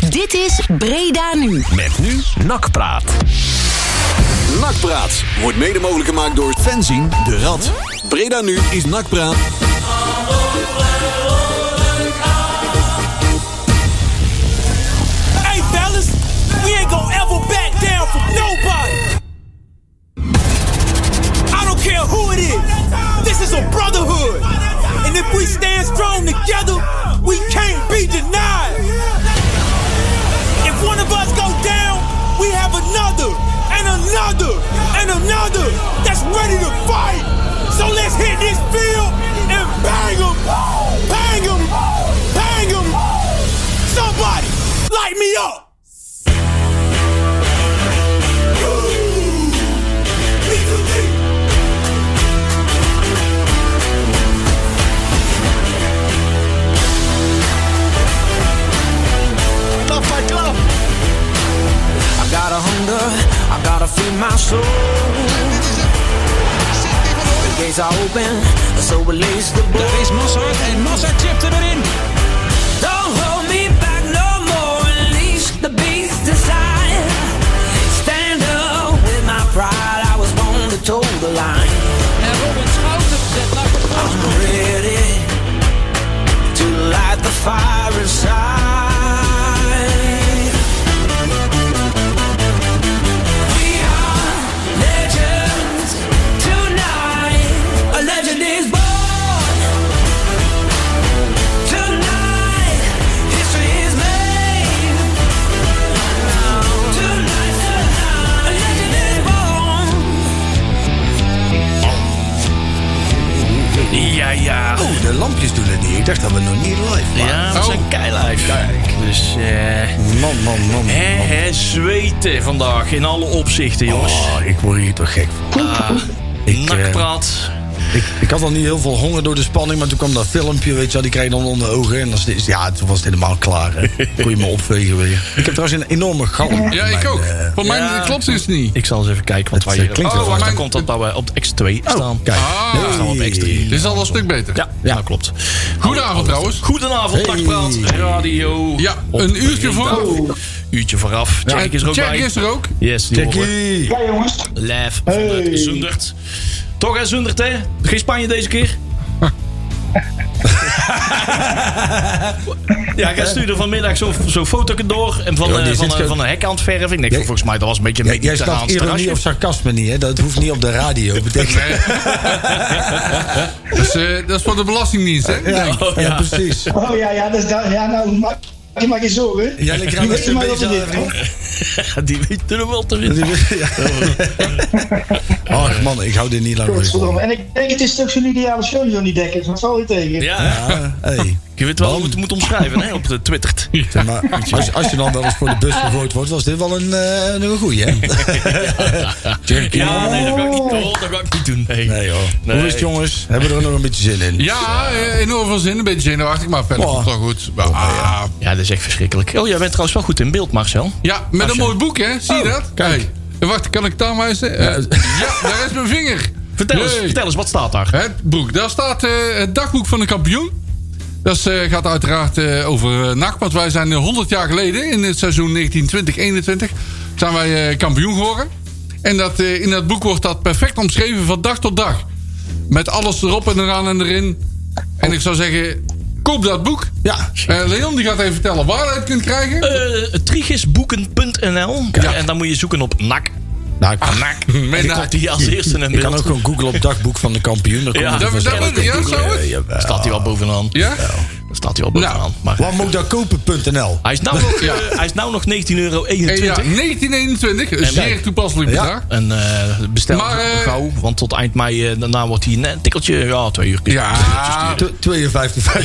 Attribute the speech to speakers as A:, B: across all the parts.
A: Dit is Breda Nu.
B: Met nu Nakpraat.
C: Nakpraat wordt mede mogelijk gemaakt door Fenzin de Rad. Breda nu is Nakpraat.
D: Hey fellas, we ain't gonna ever back down from nobody. I don't care who it is. This is a brotherhood. And if we stand strong together, we can't be denied. If one of us go down, we have another and another and another that's ready to fight. So let's hit this field and bang 'em, bang 'em, bang 'em. Somebody light me up.
E: Klap by klap. I got a hunger, I gotta feed my soul. The gates are open, so release the bolt. Daar is Mossard en Mossard chipt hem erin. Don't hold me back no more, unleash the beast inside. Stand up with my pride, I was born to toe the line. I'm ready to light the fire inside. We are legends tonight. A legend is born tonight. History is made. Tonight, tonight, a legend is born.
F: Ja, ja.
G: Oh, de lampjes doen het niet. Ik dacht dat we nog niet live waren.
F: Ja, we zijn keilive.
G: Kijk.
F: Dus, eh...
G: Man, man, man. man.
F: hè, hè, zweten vandaag in alle opzichten, jongens.
G: Oh, ik word hier toch gek van. ik, eh,
F: Nakpraat.
G: ik, ik had al niet heel veel honger door de spanning, maar toen kwam dat filmpje, weet je wel, die kreeg je dan onder de ogen. En dan, is- ja, toen was het helemaal klaar. Hè. Kon je me opvegen weer. Ik heb trouwens een enorme galm.
H: Ja, ik ook. Voor mij
F: eh, ja.
H: klopt het dus niet.
F: Ik zal eens even kijken wat
G: Het,
F: wij
G: eh,
F: hier...
G: klinkt
F: oh,
H: wel
F: wacht,
H: fijn.
F: dan komt dat dat we op de X2 staan.
G: Kijk.
H: Ah.
F: Ja, we staan op X3.
H: Dit is al wel een stuk beter.
F: Ja,
G: Ja.
F: dat klopt.
H: Goedenavond trouwens.
F: Goedenavond,
G: Hey.
F: Nakpraat Radio.
H: Ja,
F: Op
H: een uurtje
F: Breda.
H: vooraf.
F: Uurtje vooraf. Oh, Jack is er ook
H: Jack
F: bij.
H: is er ook.
F: Yes, die horen we.
G: Jackie.
F: Live van de Zundert. Toch hè, Zundert hè? Geen Spanje deze keer? ja, ik stuurde vanmiddag zo'n zo foto door. En van,
G: Ja, die
F: eh, van,
G: zit
F: een-
G: ook-
F: van een hek aan het verven. Ik denk, van, volgens mij dat was een beetje een
G: Ja,
F: ja,
G: jij snapt ironie of sarcasme niet, hè? Dat hoeft niet op de radio. Betekent...
H: Nee. dat, is, eh, dat is voor de Belastingdienst, hè?
G: Ja, ja, precies.
I: Oh ja, ja, dus dat, ja nou, maak je maar geen zorgen.
G: Ja, ik
I: Die
G: raak het
I: weten
G: een
I: maar wat
G: beetje
I: het is,
G: aan,
I: hoor.
F: Die weet er wel te winnen.
G: Ach man, ik hou dit niet lang
I: Godverdomme.
G: meer.
I: En ik denk, het is toch zo'n ideale show, Johnny Dekkers. Wat zal je tegen?
F: Ja, hè?
G: Ja, hey.
F: je weet wel hoe
G: Man.
F: het moet omschrijven hè, op de Twitter.
G: Zeg maar, als, als je dan wel eens voor de bus gegooid wordt, was dit wel een, eh, een goeie, hè?
F: Ja, nee, dat ga ik niet, oh, dat ga ik niet doen. Nee.
G: Nee, hoor.
F: Nee.
G: Hoe is het, jongens? Hebben we er nog een beetje zin in?
H: Ja, eh, enorm veel zin. Een beetje zenuwachtig, maar verder
G: Oh.
H: komt het wel goed. Ah, ja.
F: Ja, dat is echt verschrikkelijk. Oh, jij bent trouwens wel goed in beeld, Marcel.
H: met
F: Als
H: een
F: je- Oh,
H: mooi boek, hè? Zie je dat?
G: kijk.
H: Hey. Wacht, kan ik daar wijzen? Eh, ja, daar is mijn vinger.
F: Vertel eens,
H: Jee.
F: vertel eens, wat staat daar?
H: Het boek. Daar staat eh, het dagboek van de kampioen. Dat is, eh, gaat uiteraard eh, over eh NAC. Want wij zijn eh, 100 jaar geleden, in het seizoen 1920-21, zijn wij eh, kampioen geworden. En dat, eh, in dat boek wordt dat perfect omschreven van dag tot dag. Met alles erop en eraan en erin. En ik zou zeggen, koop dat boek.
G: Ja.
H: Eh, Leon die gaat even vertellen waar je het kunt krijgen.
F: Eh, trigisboeken.nl. En dan moet je zoeken op NAC.
G: Nou, ik,
F: NAC.
H: Ah, Met
F: En dan
H: NAC.
F: komt hij als eerste in
G: ik kan
F: beeld.
G: ook gewoon googlen op dagboek van de kampioen. Dan komt
F: Ja,
G: er
F: dat-
G: vanzelf
H: dat-
G: een
H: ja,
G: boek.
H: zo is het.
G: Eh, jawel.
F: Staat hij wel bovenaan.
H: ja?
F: Dan staat hij wel bovenaan.
H: Nou.
F: Maar
G: Wat moet ik daar kopen.nl?
F: hij is nou nog,
H: Ja.
F: eh, hij is nou nog 19,21 euro.
H: En ja, 1921. Een zeer toepasselijk
G: Ja.
H: bedrag.
F: En eh, bestel
H: Maar, eh,
F: gauw, want tot eind mei eh, daarna wordt hij een tikkeltje, ja, twee uur.
H: Ja,
G: Tw- 52.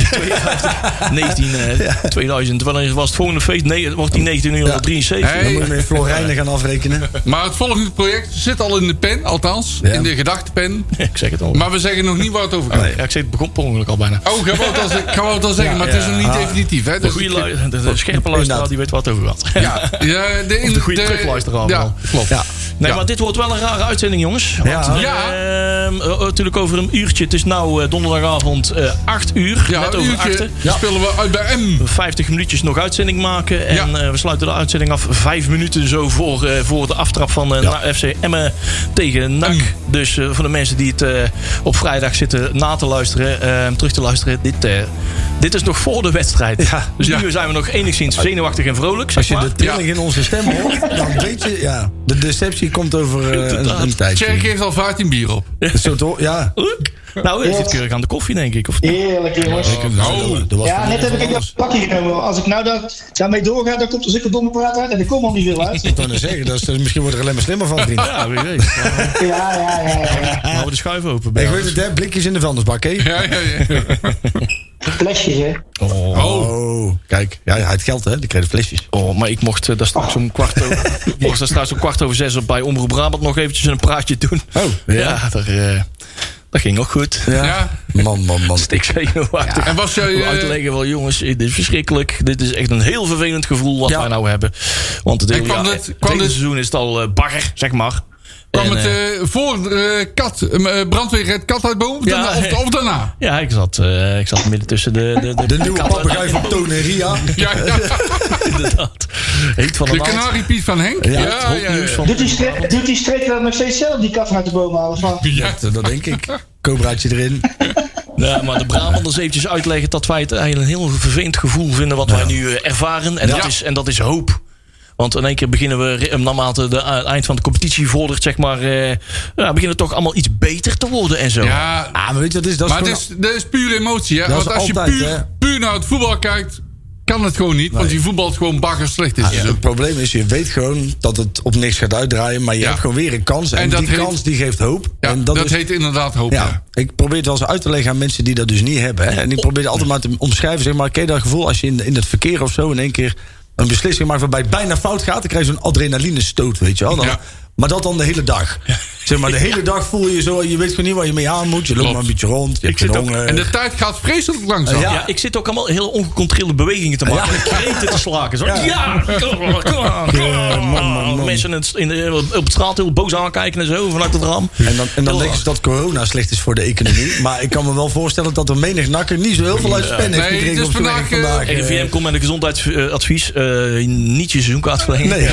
F: 19, eh, 2000, wanneer was het volgende feest? Nee, het wordt hij 1973.
H: Ja.
G: Dan moet je
H: Hey.
G: met Florijnen gaan afrekenen.
H: maar het volgende project zit al in de pen, althans.
G: Ja.
H: In de gedachtepen.
F: Ik zeg het al.
H: Maar we zeggen nog niet waar het over gaat.
F: ja, ik zeg het begon per ongeluk al bijna.
H: Oh, gaan we het al, ze- gaan we het al zeggen, maar het is nog niet definitief. Hè?
F: De,
H: Dus
F: goede,
H: ik-
F: lu- de, de scherpe luisteraar die weet wat over wat.
H: ja, ja,
F: Of de goede terugluisteraar.
H: Ja, klopt.
F: Ja. Nee,
H: Ja.
F: maar dit wordt wel een rare uitzending, jongens. Want,
G: Ja.
F: eh, ehm, eh, natuurlijk over een uurtje. Het is nou eh, donderdagavond eh 8 uur.
H: Ja,
F: net
H: een
F: over
H: uurtje
F: achten.
H: spelen we uit bij M.
F: 50 minuutjes nog uitzending maken. En
H: Ja.
F: eh, we sluiten de uitzending af vijf minuten zo voor, eh, voor de aftrap van eh, na- FC Emmen tegen
H: Mm.
F: NAC. Dus eh, voor de mensen die het eh, op vrijdag zitten na te luisteren, eh, terug te luisteren. Dit, eh, dit is nog voor de wedstrijd.
G: Ja.
F: Dus
H: Ja.
F: nu zijn we nog enigszins zenuwachtig en vrolijk. Zeg
G: Als je
F: maar.
G: de trilling in onze stem hoort, dan weet je... Ja, de deceptie komt over eh, een, een
H: Cherry
G: tijdje.
H: geeft al 15 bier op.
G: Een soort ho- ja.
F: Nou, is dit keurig aan de koffie, denk ik. Of niet?
I: Heerlijk, jongens.
H: Oh.
G: Nou, Er was
I: Ja,
G: van
I: net heb ik
G: alles.
I: een pakje genomen. Als ik nou dat, daarmee doorga, dan komt er zulke domme praat uit. En ik kom al niet veel uit.
G: Ik wou net zeggen, dat is, eh, misschien wordt er alleen maar slimmer van, vriend.
F: Ja, wie weet. Nou,
I: Ja, ja, ja. ja.
F: Houden we de schuif open.
G: Ik
F: Bernard.
G: weet het, hè? Blikjes in de vuilnisbak, hè?
H: Ja, ja, ja.
I: Flesjes, hè.
G: Oh. Kijk, ja, ja, het geldt, hè? Die kregen flesjes.
F: Oh, maar ik mocht eh, daar straks om kwart over, ik mocht daar straks om kwart over zes op bij Omroep Brabant nog eventjes een praatje doen.
G: Oh, ja.
F: daar, eh, dat ging ook goed.
H: Ja.
G: Man, man, man.
F: Stik zenuwachtig.
H: En was jij...
F: Om
H: eh,
F: uit te leggen wel, jongens, dit is verschrikkelijk. Dit is echt een heel vervelend gevoel wat
G: Ja.
F: wij nou hebben. Want het hele,
H: En kwam
F: ja,
H: dit-
F: het
H: kwam
F: hele
H: dit-
F: seizoen is het al eh, bagger, zeg maar.
H: kwam
F: En,
H: het
F: eh,
H: eh, voor eh, kat, eh, eh, brandweer het kat uit boom?
F: Ja.
H: Daarna- of, of daarna?
F: ja, ik zat, eh, ik zat midden tussen de... De,
G: De nieuwe papegaai van Toon en Ria.
H: Ja, ja.
F: Inderdaad. Heet van
H: De
F: de maand.
H: kanariepiet van Henk?
G: Ja, het
H: ja, ja.
F: Nieuws van
I: Doet die, stre- doet die strekker dat nog steeds zelf, die kat vanuit de boom halen? Van,
H: Ja.
G: Dat, dat denk ik. Cobraatje erin.
F: Ja, maar de Brabanders eventjes uitleggen dat wij het eigenlijk een heel vervelend gevoel vinden wat wij nu eh, ervaren. En, dat,
H: Ja.
F: is, en dat is hoop. Want in één keer beginnen we, re- naarmate de, eh, het eind van de competitie vordert, zeg maar, eh, ja, beginnen het toch allemaal iets beter te worden en zo.
H: Ja,
G: Ah, maar weet je wat het is? Dat is
H: maar het
G: gewoon-
H: is, dat is pure emotie. Hè?
G: Dat is
H: Want als
G: altijd,
H: je
G: hè?
H: puur, puur naar het voetbal kijkt, kan het gewoon niet. Want die voetbal is gewoon bagger slecht. Is
G: Ah,
H: dus
G: Het probleem is, je weet gewoon dat het op niks gaat uitdraaien. Maar je
H: Ja.
G: hebt gewoon weer een kans. En,
H: En dat
G: die
H: heet-
G: kans die geeft hoop.
H: Ja,
G: en
H: dat
G: is-
H: heet inderdaad hoop.
G: ja,
H: Ja.
G: ik probeer het wel eens uit te leggen aan mensen die dat dus niet hebben. Hè. En ik probeer het altijd maar te omschrijven. Zeg maar, ken je dat gevoel als je in, in het verkeer of zo in één keer een beslissing maakt waarbij het bijna fout gaat? Dan krijg je zo'n adrenaline stoot, weet je wel. Dan-
H: Ja.
G: Maar dat dan de hele dag. Zeg maar, de hele dag voel je zo, je weet gewoon niet waar je mee aan moet. Je loopt
H: Klopt.
G: maar een beetje rond, je hebt
F: zit
G: geen
F: ook-
G: honger.
H: En de tijd gaat vreselijk langzaam.
G: Ja.
F: Ja, ik zit ook allemaal hele ongecontroleerde bewegingen te maken. En kreten te slaken. Zo, ja, kom maar, kom maar, kom maar. Mensen in het- in de, op straat heel boos aankijken en zo vanuit het raam.
G: En dan, en dan
F: Heel
G: denken ze dat corona slecht is voor de economie. Maar ik kan me wel voorstellen dat er menig nakker niet zo heel veel uit zijn pen heeft
H: Nee,
G: gekregen
H: dus
G: op zijn werk
H: vandaag, eh,
G: vandaag. eh.
F: RIVM komt met een gezondheidsadvies. eh, niet je seizoenkaart verlengen.
G: Nee,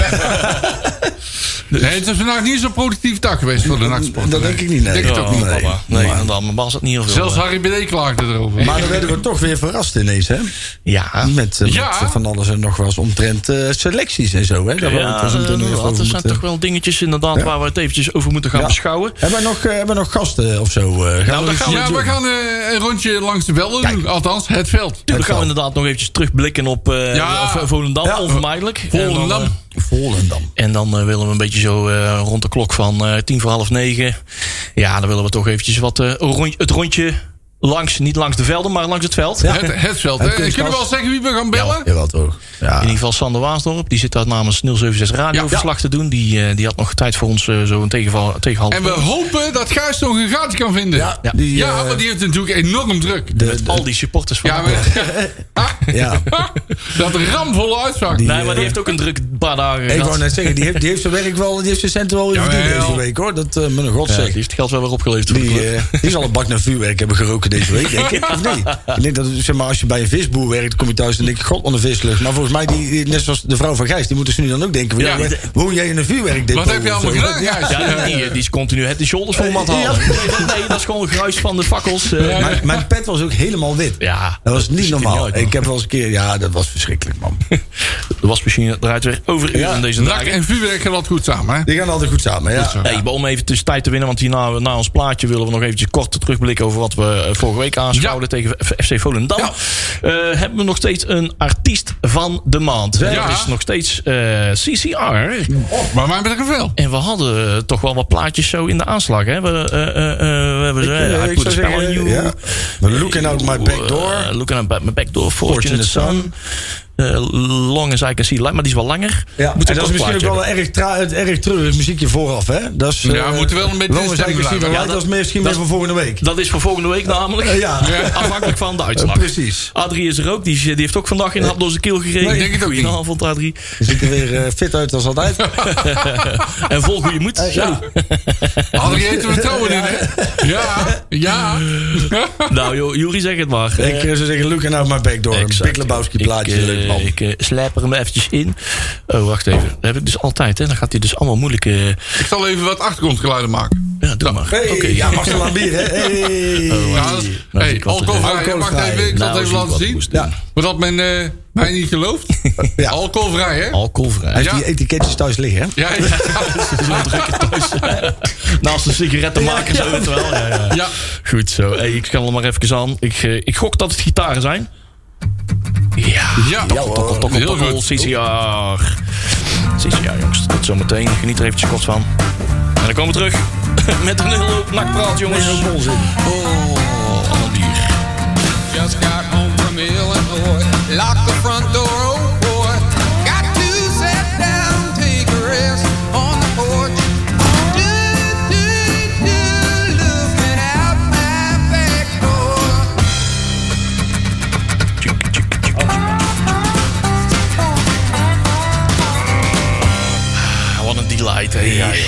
H: Nee, het is vandaag niet zo'n productieve dag geweest voor de nachtsport.
G: dat denk ik niet. Nee.
H: Denk het ook niet.
G: Nee.
F: Nee, nee maar. dan mijn baas had niet heel veel.
H: Zelfs
F: eh,
H: Harry BD klaagde erover.
G: Maar dan werden we toch weer verrast ineens, hè?
F: Ah. ja.
G: Met, eh, met
H: Ja.
G: van alles en nog wel eens omtrent eh, selecties en zo, hè? Daar we het
F: Ja,
G: ons
F: eh,
G: meteen nog even
F: dat
G: over
F: zijn
G: moeten-
F: toch wel dingetjes inderdaad waar we het eventjes over moeten gaan
G: Ja.
F: beschouwen.
G: Hebben we nog, eh, hebben we nog gasten of zo? eh, gaan
F: dat
G: eens-
F: gaan
H: Ja, we Nou, gaan eh, een rondje langs de velden doen. Althans, het veld.
F: Dan gaan we
G: kan.
F: inderdaad nog eventjes terugblikken op eh,
H: Ja.
F: of, eh, Volendam,
G: Ja.
F: onvermijdelijk. En dan,
H: Volendam.
F: eh,
G: Volendam.
F: en dan eh, willen we een beetje zo eh, rond de klok van eh, tien voor half negen. Ja, dan willen we toch eventjes wat eh, rond- het rondje langs, niet langs de velden, maar langs het veld.
G: Ja.
H: Het, het veld.
G: Het
H: hè.
G: kunstgras.
H: Kunnen we al zeggen wie we gaan bellen?
G: Jawel, toch? Ja.
F: In ieder geval Sander Waasdorp, die zit daar namens 076 Radio
H: Ja.
F: verslag te doen. Die, eh, die had nog tijd voor ons eh, zo een tegenval, tegenhand.
H: En we hopen dat Gijs nog een gaatje kan vinden. Ja,
G: Ja, die, eh,
H: want die heeft natuurlijk enorm druk.
G: de- de-
F: Al die supporters van
H: ja,
F: Emmen.
H: maar,
G: ja.
H: dat ramvolle uitvak.
G: Die- eh,
F: Nee, maar Ah. die heeft ook een druk paar dagen
G: Ik
F: gehad.
G: wou net zeggen, die heeft, die heeft zijn werk wel, die heeft zijn centen wel weer
H: Jawel.
G: verdiend deze week, hoor. Dat, eh mijn god
F: Ja,
G: zeg.
F: die heeft het geld wel weer opgeleverd. voor de
G: Die,
F: club.
G: eh, die zal een bak naar vuurwerk hebben geroken deze week, denk ik. Of niet? Ik denk dat, zeg maar, als je bij een visboer werkt, kom je thuis en denk je, god, wat een vislucht. Maar volgens mij, die, die- net zoals de vrouw van Gijs, die moeten ze nu dan ook denken. van, Ja,
H: Ja,
G: maar woon jij in een vuurwerk?
H: Wat heb je allemaal gedaan, Gijs?
F: ja, die, die is continu het de shoulders voor mat halen. Nee, nee, dat is gewoon gruis van de fakkels. eh.
H: Ja.
G: Mijn, mijn pet was ook helemaal wit.
F: Ja,
G: Dat was niet
F: ziet er
G: normaal.
F: niet uit, man.
G: ik heb wel eens een keer, ja, dat was verschrikkelijk, man.
F: De wasmachine draait weer over uren deze
H: Nak
F: dagen.
H: en vuurwerk gaan dat goed samen, hè?
G: Die gaan altijd goed samen, ja.
H: zo.
F: Hey, maar om even tussen tijd te winnen, want hier na, na ons plaatje willen we nog eventjes kort terugblikken over wat we eh, vorige week aanschouwden tegen F- FC Volendam.
H: Ja.
F: Eh, hebben we nog steeds een artiest van de maand.
H: Ja.
F: Dat is nog steeds eh, CCR.
H: Maar mij betreft wel.
F: En we hadden eh, toch wel wat plaatjes zo in de aanslag. Hè? We, eh, eh, eh, we hebben
G: Ik, eh,
F: ze- I
G: ik
F: put a
G: zou
F: spell eh, on
G: zeggen,
F: you.
G: ja. We're looking out my back door.
F: Eh, looking out my back door. Fortune,
G: Fortune
F: the
G: the
F: sun. eh, Long as I can see light. Maar die is wel langer.
G: Ja,
F: Moet
G: en
F: een
G: dat
F: kort
G: is misschien ook
F: plaatje
G: wel een erg, tra- het erg treurig muziekje vooraf, hè? Dat is,
H: Ja, we moeten wel een beetje
G: Long
H: in
G: as I
H: stemming
G: can see
H: blijven.
G: the
F: Ja,
G: light,
F: dat-
G: dat is misschien
F: dat-
G: best wel volgende week.
F: Dat is voor volgende week namelijk.
G: Eh, ja.
F: Afhankelijk van de uitslag.
G: Eh, precies.
F: Adrie is er ook. Die, is- die heeft ook vandaag in de hap door zijn keel gereden.
H: Nee, ik denk het ook niet.
F: Goedenavond, Adrie.
G: Je ziet er weer eh, fit uit als altijd.
F: En vol goede moed.
G: Eh, ja.
F: Zo.
H: Hadden je eten vertrouwen in, hè? Ja, ja.
F: Nou, joh, Jury, zeg het maar.
G: Ik eh, zou zeggen, look out my backdoor. Een
F: Exact.
G: Big Lebowski plaatje,
F: Ik, eh,
G: leuk man.
F: Ik eh, slijp er hem eventjes in. Oh, wacht even. Dat heb ik dus altijd, hè. Dan gaat hij dus allemaal moeilijke... eh,
H: Ik zal even wat achtergrondgeluiden maken.
F: ja, doe maar.
G: Hey,
F: Oké.
G: ja, Marcel aan bier, hè? Hey.
H: Ja, dat is-
F: Nou,
H: hey,
F: ik wat-
H: alcoholvrij.
G: Alcoholvrij.
H: Wacht even, ik zal het
F: Nou, zie
H: even
F: ik
H: laten
F: wat
H: zien.
F: moest doen.
G: Ja.
H: Voordat men eh, mij niet gelooft.
G: Ja.
H: Alcoholvrij, hè?
F: Alcoholvrij.
G: Hij heeft
H: Ja.
G: die etiketjes thuis liggen, hè?
H: Ja, ja.
F: Zo druk het thuis. Naast een sigarettenmaker zo het wel. Ja, ja.
H: Ja.
F: Goed zo. Hey, ik kan er maar even aan. Ik, eh, ik gok dat het gitaren zijn. Ja.
H: Ja,
F: Tokkel, tokkel, tokkel,
H: Oh, Heel
F: tokkel.
H: goed.
F: CCR. CCR, jongens. Tot zometeen. Geniet er eventjes kort van. En dan komen we terug met een heel hoop nakpraat, jongens.
G: onzin.
F: Oh, allemaal bier.
J: Just got home from Illinois. Lock the front door, oh boy. Got to sit down, take a rest on the porch. Do, do, do, looking out my back door.
F: Ah, Wat een delight, hè. Ja, joh.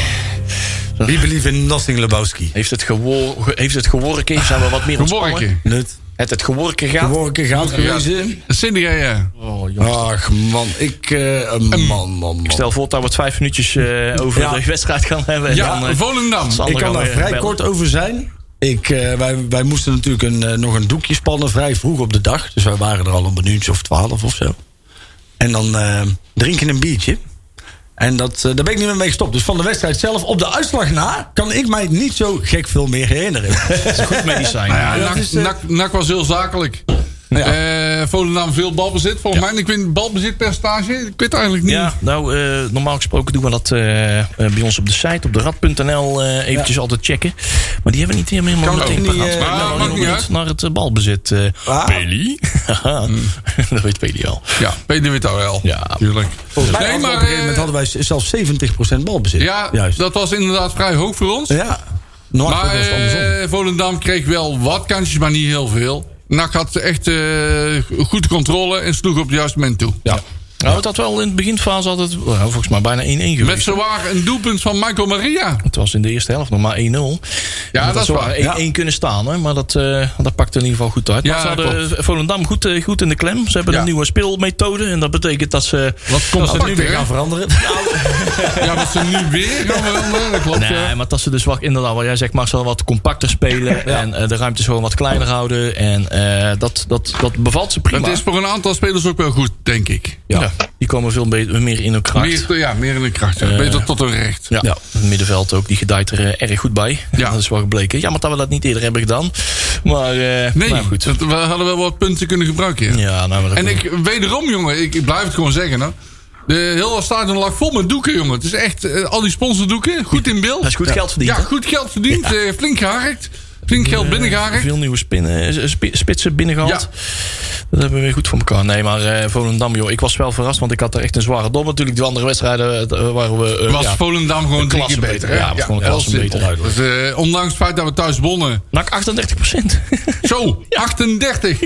G: We believe in nothing Lebowski.
F: Heeft het, gewor ge- heeft het geworken? Zijn we wat meer ontspannen?
H: Geworken.
G: Nut.
F: Het het geworken gaat?
G: Worken gaat gewezen.
H: Cindy, ja, ja.
G: Ach man, ik... eh, man, man, man.
F: Stel voor dat we het vijf minuutjes eh, over
G: Ja.
F: de wedstrijd gaan hebben. en
H: Ja,
F: dan, eh,
H: Volendam.
F: Sander
G: Ik kan
F: gaan
G: daar
F: we
G: vrij
F: bellen.
G: kort over zijn. Ik, eh, wij, wij moesten natuurlijk een, eh, nog een doekje spannen vrij vroeg op de dag. Dus wij waren er al een minuutje of twaalf of zo. En dan eh, drinken een biertje. En dat, eh, daar ben ik niet meer mee gestopt. Dus van de wedstrijd zelf op de uitslag na... kan ik mij niet zo gek veel meer herinneren.
F: Goed medicijn.
H: Ja,
G: dat
H: NAC,
G: is, eh,
H: NAC- NAC was heel zakelijk. Eh, Volendam veel balbezit. Volgens mij, ik weet balbezitpercentage. Ik weet eigenlijk niet.
F: Ja, nou, eh, normaal gesproken doen we dat eh, eh, bij ons op de site, op de rad.nl, eh, eventjes altijd checken. Maar die hebben niet helemaal
G: Kan
F: meteen
G: ook niet,
F: paraat.
G: eh,
F: Maar
H: nou,
F: ik ben
H: maakt
F: wel
H: niet
F: benieuwd
H: uit.
F: naar het eh, balbezit. eh
G: Ah.
F: Peli? Haha, dat weet Peli al.
H: Ja, Peter weet dat wel.
F: Ja.
H: tuurlijk.
G: Volgens mij hadden
H: Nee,
G: we op een
H: maar,
G: gegeven moment
H: eh,
G: hadden wij z- zelfs 70% balbezit.
H: ja,
G: Juist.
H: dat was inderdaad vrij hoog voor ons.
G: ja. Normaal
H: Maar
G: gesproken was het andersom.
H: eh, Volendam kreeg wel wat kansjes, maar niet heel veel. NAC had echt eh goed controle en sloeg op het juiste moment toe.
F: Nou, het had wel in de beginfase altijd, nou, volgens mij bijna 1-1 geweest.
H: Met zowaar een doelpunt van Michael Maria.
F: Het was in de eerste helft nog maar 1-0.
H: Ja, dat is
F: zou
H: waar.
F: 1-1 kunnen staan, hè? maar dat, eh, dat pakte in ieder geval goed uit.
H: Ja,
F: maar ze hadden
H: klopt.
F: Volendam goed, eh, goed in de klem. Ze hebben
H: Ja.
F: een nieuwe speelmethode. En dat betekent dat ze...
H: Wat komt
F: dat
H: er
F: ze
H: nu
F: nu weer
H: weer?
F: gaan
G: veranderen.
H: Ja, wat ze nu weer gaan veranderen, dat klopt. ja.
F: Nee, maar dat ze dus wat, inderdaad, wat jij zegt, Marcel, wat compacter spelen. En eh, de ruimtes gewoon wat kleiner houden. En eh, dat, dat, dat bevalt ze prima.
H: Dat is voor een aantal spelers ook wel goed, denk ik.
F: ja. Die komen veel be- meer in hun kracht.
H: Meer, ja, meer in de kracht. ja. Beter tot een recht.
F: Eh, Ja. het middenveld ook, die gedijt er eh, erg goed bij.
H: Ja.
F: Dat is wel gebleken. Jammer dat we dat niet eerder hebben gedaan. Maar, eh,
H: Nee,
F: maar goed.
H: dat- we hadden wel wat punten kunnen gebruiken. ja.
F: Ja, nou, maar dat
H: En ik, wederom, jongen, ik, ik blijf het gewoon zeggen. Hè. De hele stadion lag vol met doeken, jongen. Het is echt, eh, al die sponsordoeken, goed in beeld.
F: Dat is goed geld verdiend,
H: Ja,
F: hè?
H: goed geld verdiend, eh, flink geharkt. Flink geld binnengeharkt.
F: Veel nieuwe spinnen, eh, spi- spitsen binnengehaald. Dat hebben we weer goed voor elkaar. Nee, maar eh, Volendam, joh. Ik was wel verrast, want ik had er echt een zware dom. Natuurlijk, de andere wedstrijden eh, waren we... eh,
H: Was
F: ja,
H: Volendam gewoon drie
F: klasse
H: keer beter.
F: beter.
H: hè?
F: Ja, was gewoon een
H: heel
F: klasse
H: simpel.
F: beter.
H: Dus, eh, ondanks het feit dat we thuis wonnen.
F: NAC 38
H: Zo, 38.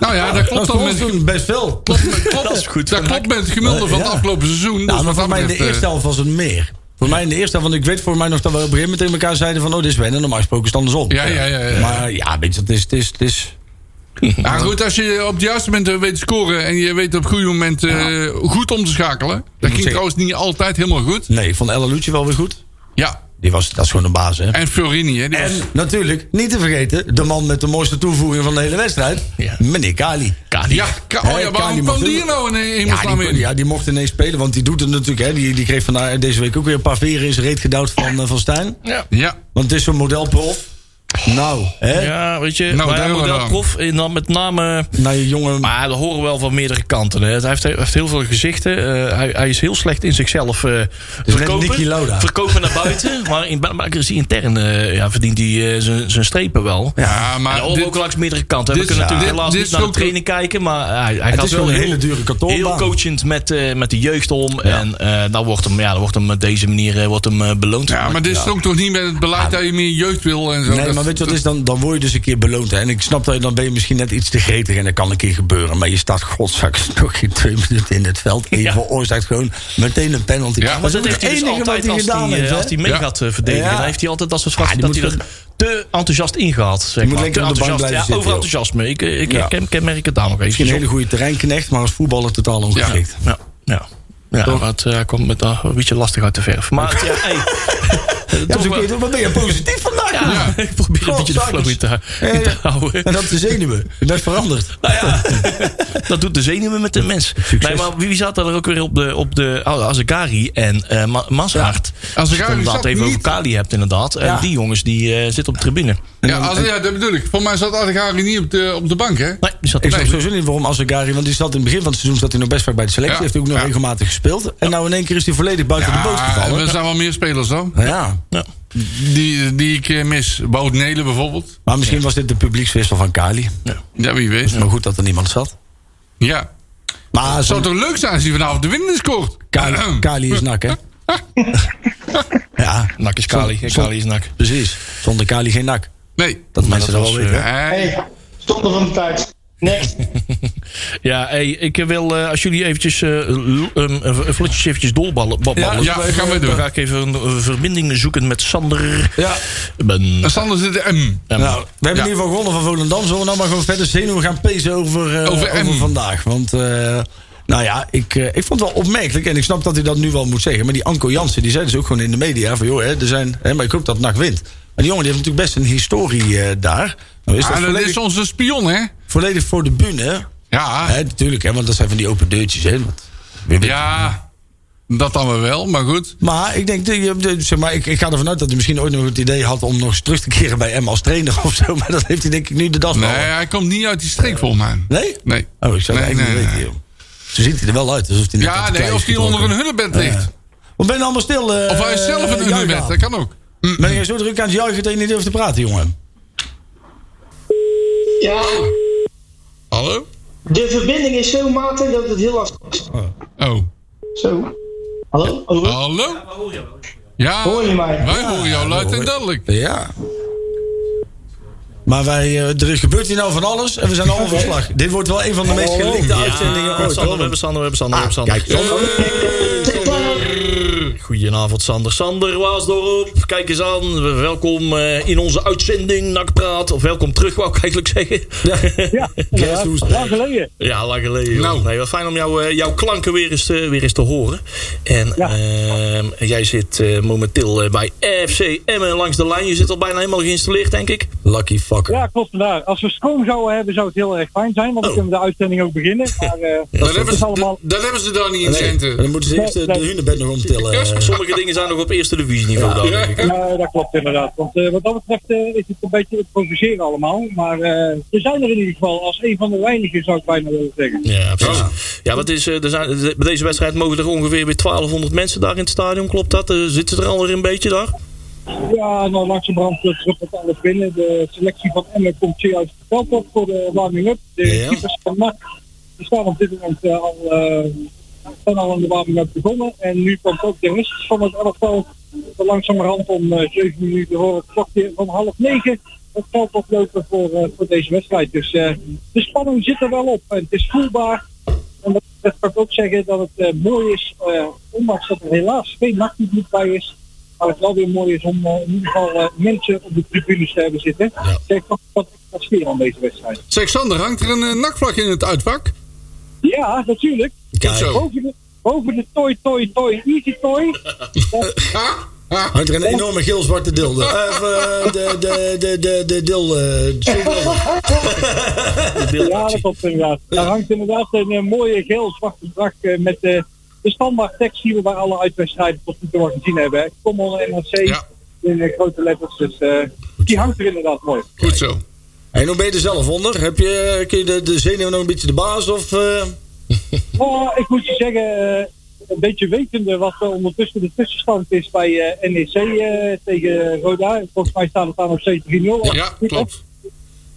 H: Nou ja, dat
G: Dat
H: klopt
G: is
H: dan
G: voor ons
H: met...
G: toen best veel.
H: Klopt, met- klopt,
F: Dat is goed
H: dat
F: van
H: klopt met het gemiddelde van het
G: Ja.
H: afgelopen seizoen.
G: Nou,
H: Dus
G: maar
H: wat
G: voor
H: dat
G: mij in de
H: betreft, eh,
G: eerste helft was het meer. Voor mij in de eerste helft, want ik weet voor mij nog dat we op een gegeven moment tegen elkaar zeiden van... oh, dit is wennen, normaal gesproken is het andersom.
H: Ja, ja, ja, ja.
G: Maar ja, weet je, het is... Het is, het is
H: Maar goed, als je op het juiste moment eh, weet te scoren en je weet op het goede moment eh, goed om te schakelen. Dat ging
G: zeggen-
H: trouwens niet altijd helemaal goed.
G: nee, ik vond Ella Lucci wel weer goed.
H: Ja,
G: Die was, dat is gewoon een baas, hè.
H: en Fiorini. Hè, die was-
G: En natuurlijk, niet te vergeten, de man met de mooiste toevoeging van de hele wedstrijd.
F: Ja.
G: Meneer Kali.
F: Kali.
H: ja, ka- oh
G: Hey,
H: ja,
G: Kali
H: waarom
G: mag
H: kwam die
G: doen.
H: nou in
G: Ja
H: hemelsnaam
G: die,
H: in?
G: ja, die mocht ineens spelen, want die doet het natuurlijk. Hè. Die, die kreeg vandaag, deze week ook weer een paar veren in zijn reet gedouwd van, eh, van eh, Stijn.
H: Ja,
G: Want het is zo'n modelprof. Nou, hè?
F: Ja, weet je,
H: Nou,
F: nou,
H: daar
F: wij hebben
H: hebben we
F: wel
H: dan.
F: prof en dan met name...
G: Nou, je jongen.
F: Maar dat horen we wel van meerdere kanten. Hè. Hij heeft, hij heeft heel veel gezichten. Eh, hij, hij is heel slecht in zichzelf eh, verkopen.
G: Niki Lauda.
F: Verkopen naar buiten. maar, in, maar is hij intern eh, ja, verdient hij eh, zijn zijn strepen wel.
H: Ja,
F: Maar
H: maar
F: en
H: dit-
F: ook langs meerdere kanten.
H: dit-
F: we kunnen
H: ja.
F: natuurlijk
H: dit-
F: helaas
H: dit
F: niet
H: is
F: naar de
H: ook-
F: training kijken. Maar eh, hij, hij
G: Het
F: gaat
G: is
F: wel
G: wel een
F: heel-
G: hele dure kantoorbaan.
F: Heel coachend met, eh, met de jeugd om. En eh dan, wordt hem, ja, dan wordt hem op deze manier eh, wordt hem, eh, beloond.
H: Ja, maar dit is ook toch niet met het beleid dat je meer jeugd wil en zo.
G: Nee,
H: Dat-
G: maar weet je wat is? Dan, dan word je dus een keer beloond. Hè? En ik snap dat je dan ben je misschien net iets te gretig en dat kan een keer gebeuren. Maar je staat godzaks nog geen twee minuten in het veld. En je
F: Ja.
G: veroorzaakt gewoon meteen een penalty.
H: Ja,
F: Maar
H: maar
F: dat
G: is
F: heeft hij dus altijd als hij, eh, als hij mee
H: Ja.
F: gaat eh, verdedigen.
G: Ja.
F: Dan heeft hij altijd dat soort fracties
G: Ja,
F: dat
G: die
F: hij er te enthousiast in gaat. Zeg
G: moet
F: maar.
G: lekker
F: te
G: op de bank
F: enthousiast.
G: blijven
F: ja,
G: zitten,
F: overenthousiasme. Ik, eh, ik
G: Ja.
F: herken- kenmerk het daar nog
G: Misschien een
F: even.
G: hele goede terreinknecht, maar als voetballer totaal ongeschikt.
F: Ja, ja. Ja, maar het eh, komt met eh, een beetje lastig uit de verf. Maar ja, hey, toch
G: Ja, dus
F: wel-
G: ik weet- wat ben je positief vandaag?
F: ja, ik probeer een
G: God,
F: beetje de flow in te,
G: Ja,
F: in te
G: ja.
F: houden.
G: En dat de zenuwen. Je bent veranderd.
F: Nou ja, dat doet de zenuwen met de mens. Nee, maar wie zat er ook weer op de, op de oh, Azekari en eh Ma- Mazraart? Als je
H: Azekari
F: het inderdaad
H: zat
F: even
H: niet.
F: over Kali hebt inderdaad. En die jongens die eh, zitten op de tribune.
H: ja, als, ja, dat bedoel ik. Volgens mij zat Adegari niet op de, op de bank, hè?
F: Nee, die zat op
G: Ik snap
F: de
G: sowieso niet waarom Azagari, want die zat in het begin van het seizoen zat hij nog best vaak bij de selectie.
H: Ja.
G: Heeft hij ook nog
H: Ja.
G: regelmatig gespeeld. En nou in één keer is hij volledig buiten de boot
H: Ja,
G: gevallen.
H: Ah, er zijn wel meer spelers dan.
G: Ja.
F: Ja.
H: Die, die ik eh, mis. Wout Nelen bijvoorbeeld.
G: Maar misschien was dit de publiekswissel van Kali.
H: Ja, wie weet.
G: Maar goed dat er niemand zat.
H: Ja.
G: Maar
H: Zou
G: zo'n
H: toch leuk zijn als hij vanavond de winnende scoort?
G: Kali, Kali is nak, hè? ja,
F: Nak is Kali. en Kali is nak.
G: precies. Zonder Kali geen nak.
H: Nee.
G: Dat mensen dat wel
F: eh,
G: weten. hè?
H: Hey.
I: Hey, stond er van de tijd. Next.
F: Ja, hey, ik wil eh, als jullie eventjes eh, l- um, eh, vlotjes eventjes doorballen. babbelen.
H: ja, gaan we
F: Dan
H: doen.
F: ga ik even een eh, verbinding zoeken met Sander.
G: Ja.
F: Ben,
H: Sander zit de M.
F: Em.
G: Nou, we hebben in ieder geval gewonnen van Volendam. Zullen we nou maar gewoon verder zenuwen gaan pezen over, eh,
H: Over
G: over,
H: M.
G: vandaag? Want, eh, nou ja, ik, eh, ik vond het wel opmerkelijk. En ik snap dat hij dat nu wel moet zeggen. Maar die Anko Jansen, die zei dus ook gewoon in de media. Van joh, hè, er zijn, hè, maar ik hoop dat NAC wint. Maar die jongen die heeft natuurlijk best een historie eh, daar. Nou is dat
H: Ah, dat
G: volledig,
H: is onze spion, hè?
G: volledig voor de bühne.
H: Ja.
G: Hè, natuurlijk, hè, want dat zijn van die open deurtjes. Hè, want,
H: Ja. Dat dan weer wel, maar goed.
G: Maar ik denk, eh, eh, zeg maar, ik, ik ga ervan uit dat hij misschien ooit nog het idee had om nog eens terug te keren bij M als trainer of zo. Maar dat heeft hij denk ik nu de das
H: Nee,
G: behalve.
H: hij komt niet uit die streek volgens mij.
G: Oh. Nee?
H: Nee.
G: Oh, ik zou het
H: Nee,
G: eigenlijk
H: nee,
G: niet
H: nee.
G: weten, joh. Zo ziet hij er wel uit, alsof hij net uit
H: Ja,
G: de klei
H: nee,
G: is
H: of die
G: getrokken.
H: onder een hunnebed ligt.
G: Wat ben je allemaal stil? eh,
H: Of hij is zelf een
G: juichen
H: hunnebed,
G: aan?
H: dat kan ook.
G: Ben je zo druk aan het juichen dat je niet durft te praten, jongen?
I: Ja,
H: Hallo?
I: de verbinding is zo matig dat het heel lastig is.
H: Oh.
I: Zo. Hallo?
G: Ah.
I: Hallo?
H: Hallo? Ja,
I: Hoor je mij?
H: wij horen jou luid en
G: hoor-
H: duidelijk.
G: Ja. Maar wij, eh, er is gebeurt hier nou van alles en we zijn allemaal van slag. Dit wordt wel een van de meest gelikte uitzendingen
F: Ah,
G: ooit.
F: Oh, Sander, we
G: hoor. Ah,
F: hebben Sander, we hebben Sander, we hebben Sander.
G: Kijk, Sander.
F: Goedenavond, Sander. Sander Waasdorp, kijk eens aan. Welkom eh, in onze uitzending Nak Praat. Of welkom terug, wou ik eigenlijk zeggen. Ja,
G: Guess who's back.
F: ja lang geleden. joh.
H: Nou.
F: Nee, wat fijn om jou, eh, jouw klanken weer eens, te, weer eens te horen. En ehm, jij zit eh, momenteel eh, bij FC Emmen langs de lijn. Je zit al bijna helemaal geïnstalleerd, denk ik.
G: Lucky fucker.
K: Ja, klopt inderdaad. Als we stroom zouden hebben, zou het heel erg fijn zijn. Want dan
F: Oh.
K: kunnen we de uitzending ook beginnen. Maar eh,
H: Dat
K: dat
H: hebben, ze,
K: is
H: dat,
K: allemaal...
H: dat hebben ze daar niet in
G: Nee,
H: centen.
G: dan moeten ze eerst eh, de hunebed nog omtillen. eh.
F: Sommige dingen zijn nog op eerste divisieniveau dan, denk ik.
K: Ja, dat klopt inderdaad. Want eh, wat dat betreft eh, is het een beetje improviseren allemaal. Maar eh we zijn er in ieder geval als een van de weinigen, zou ik bijna willen zeggen.
F: Ja, precies. Ja, wat is, eh, er zijn, de- bij deze wedstrijd mogen er ongeveer weer 1200 mensen daar in het stadion, klopt dat? Eh, zitten ze er al weer een beetje daar?
K: Ja, nou langzamerhand eh, druppelt alles binnen. De selectie van Emmen komt zeer uit het veld op voor de warming-up. De
F: Ja.
K: keepers van NAC die staan op dit moment eh, al, eh, zijn al aan de warming-up begonnen. En nu komt ook de rest van het elftal zo langzamerhand om eh 7 minuten voor het klokje van half negen het veld oplopen voor, eh, voor deze wedstrijd. Dus eh, de spanning zit er wel op en het is voelbaar. En dat, dat kan ik ook zeggen dat het eh, mooi is, eh, ondanks dat er helaas geen nachtpubliek bij is, maar het wel weer mooi is om eh, in ieder geval eh, mensen op de tribunes te hebben zitten. Kijk, toch wat extra sfeer aan deze wedstrijd.
H: Zeg, Sander, hangt er een eh, nakvlag in het uitvak?
K: Ja, natuurlijk.
H: Kijk. Zo.
K: Boven de, boven de toy, toy, toy, easy toy.
H: Ha? Ha?
G: Hangt er
F: Oh.
G: een enorme geel-zwarte dildo. Of eh, de, de, de, de, de dil... eh, dildo.
K: Ja, dat klopt inderdaad. Daar hangt inderdaad een eh, mooie geel-zwarte dracht eh, met eh, de standaard tekst die we bij alle uitwedstrijden tot nu toe al gezien hebben. hè. Kom on NRC
H: Ja.
K: in eh, grote letters. Dus eh, die hangt er inderdaad mooi.
H: Goed zo.
G: En hoe ben je er zelf onder? Heb je, eh, kun je de, de zenuw nog een beetje de baas? Of, eh,
K: Nou, ik moet je zeggen, eh, een beetje wetende wat er ondertussen de tussenstand is bij eh, NEC eh, tegen Roda. Volgens mij staat het daar nog steeds 3-0. als
H: Ja,
K: het goed is.
H: klopt.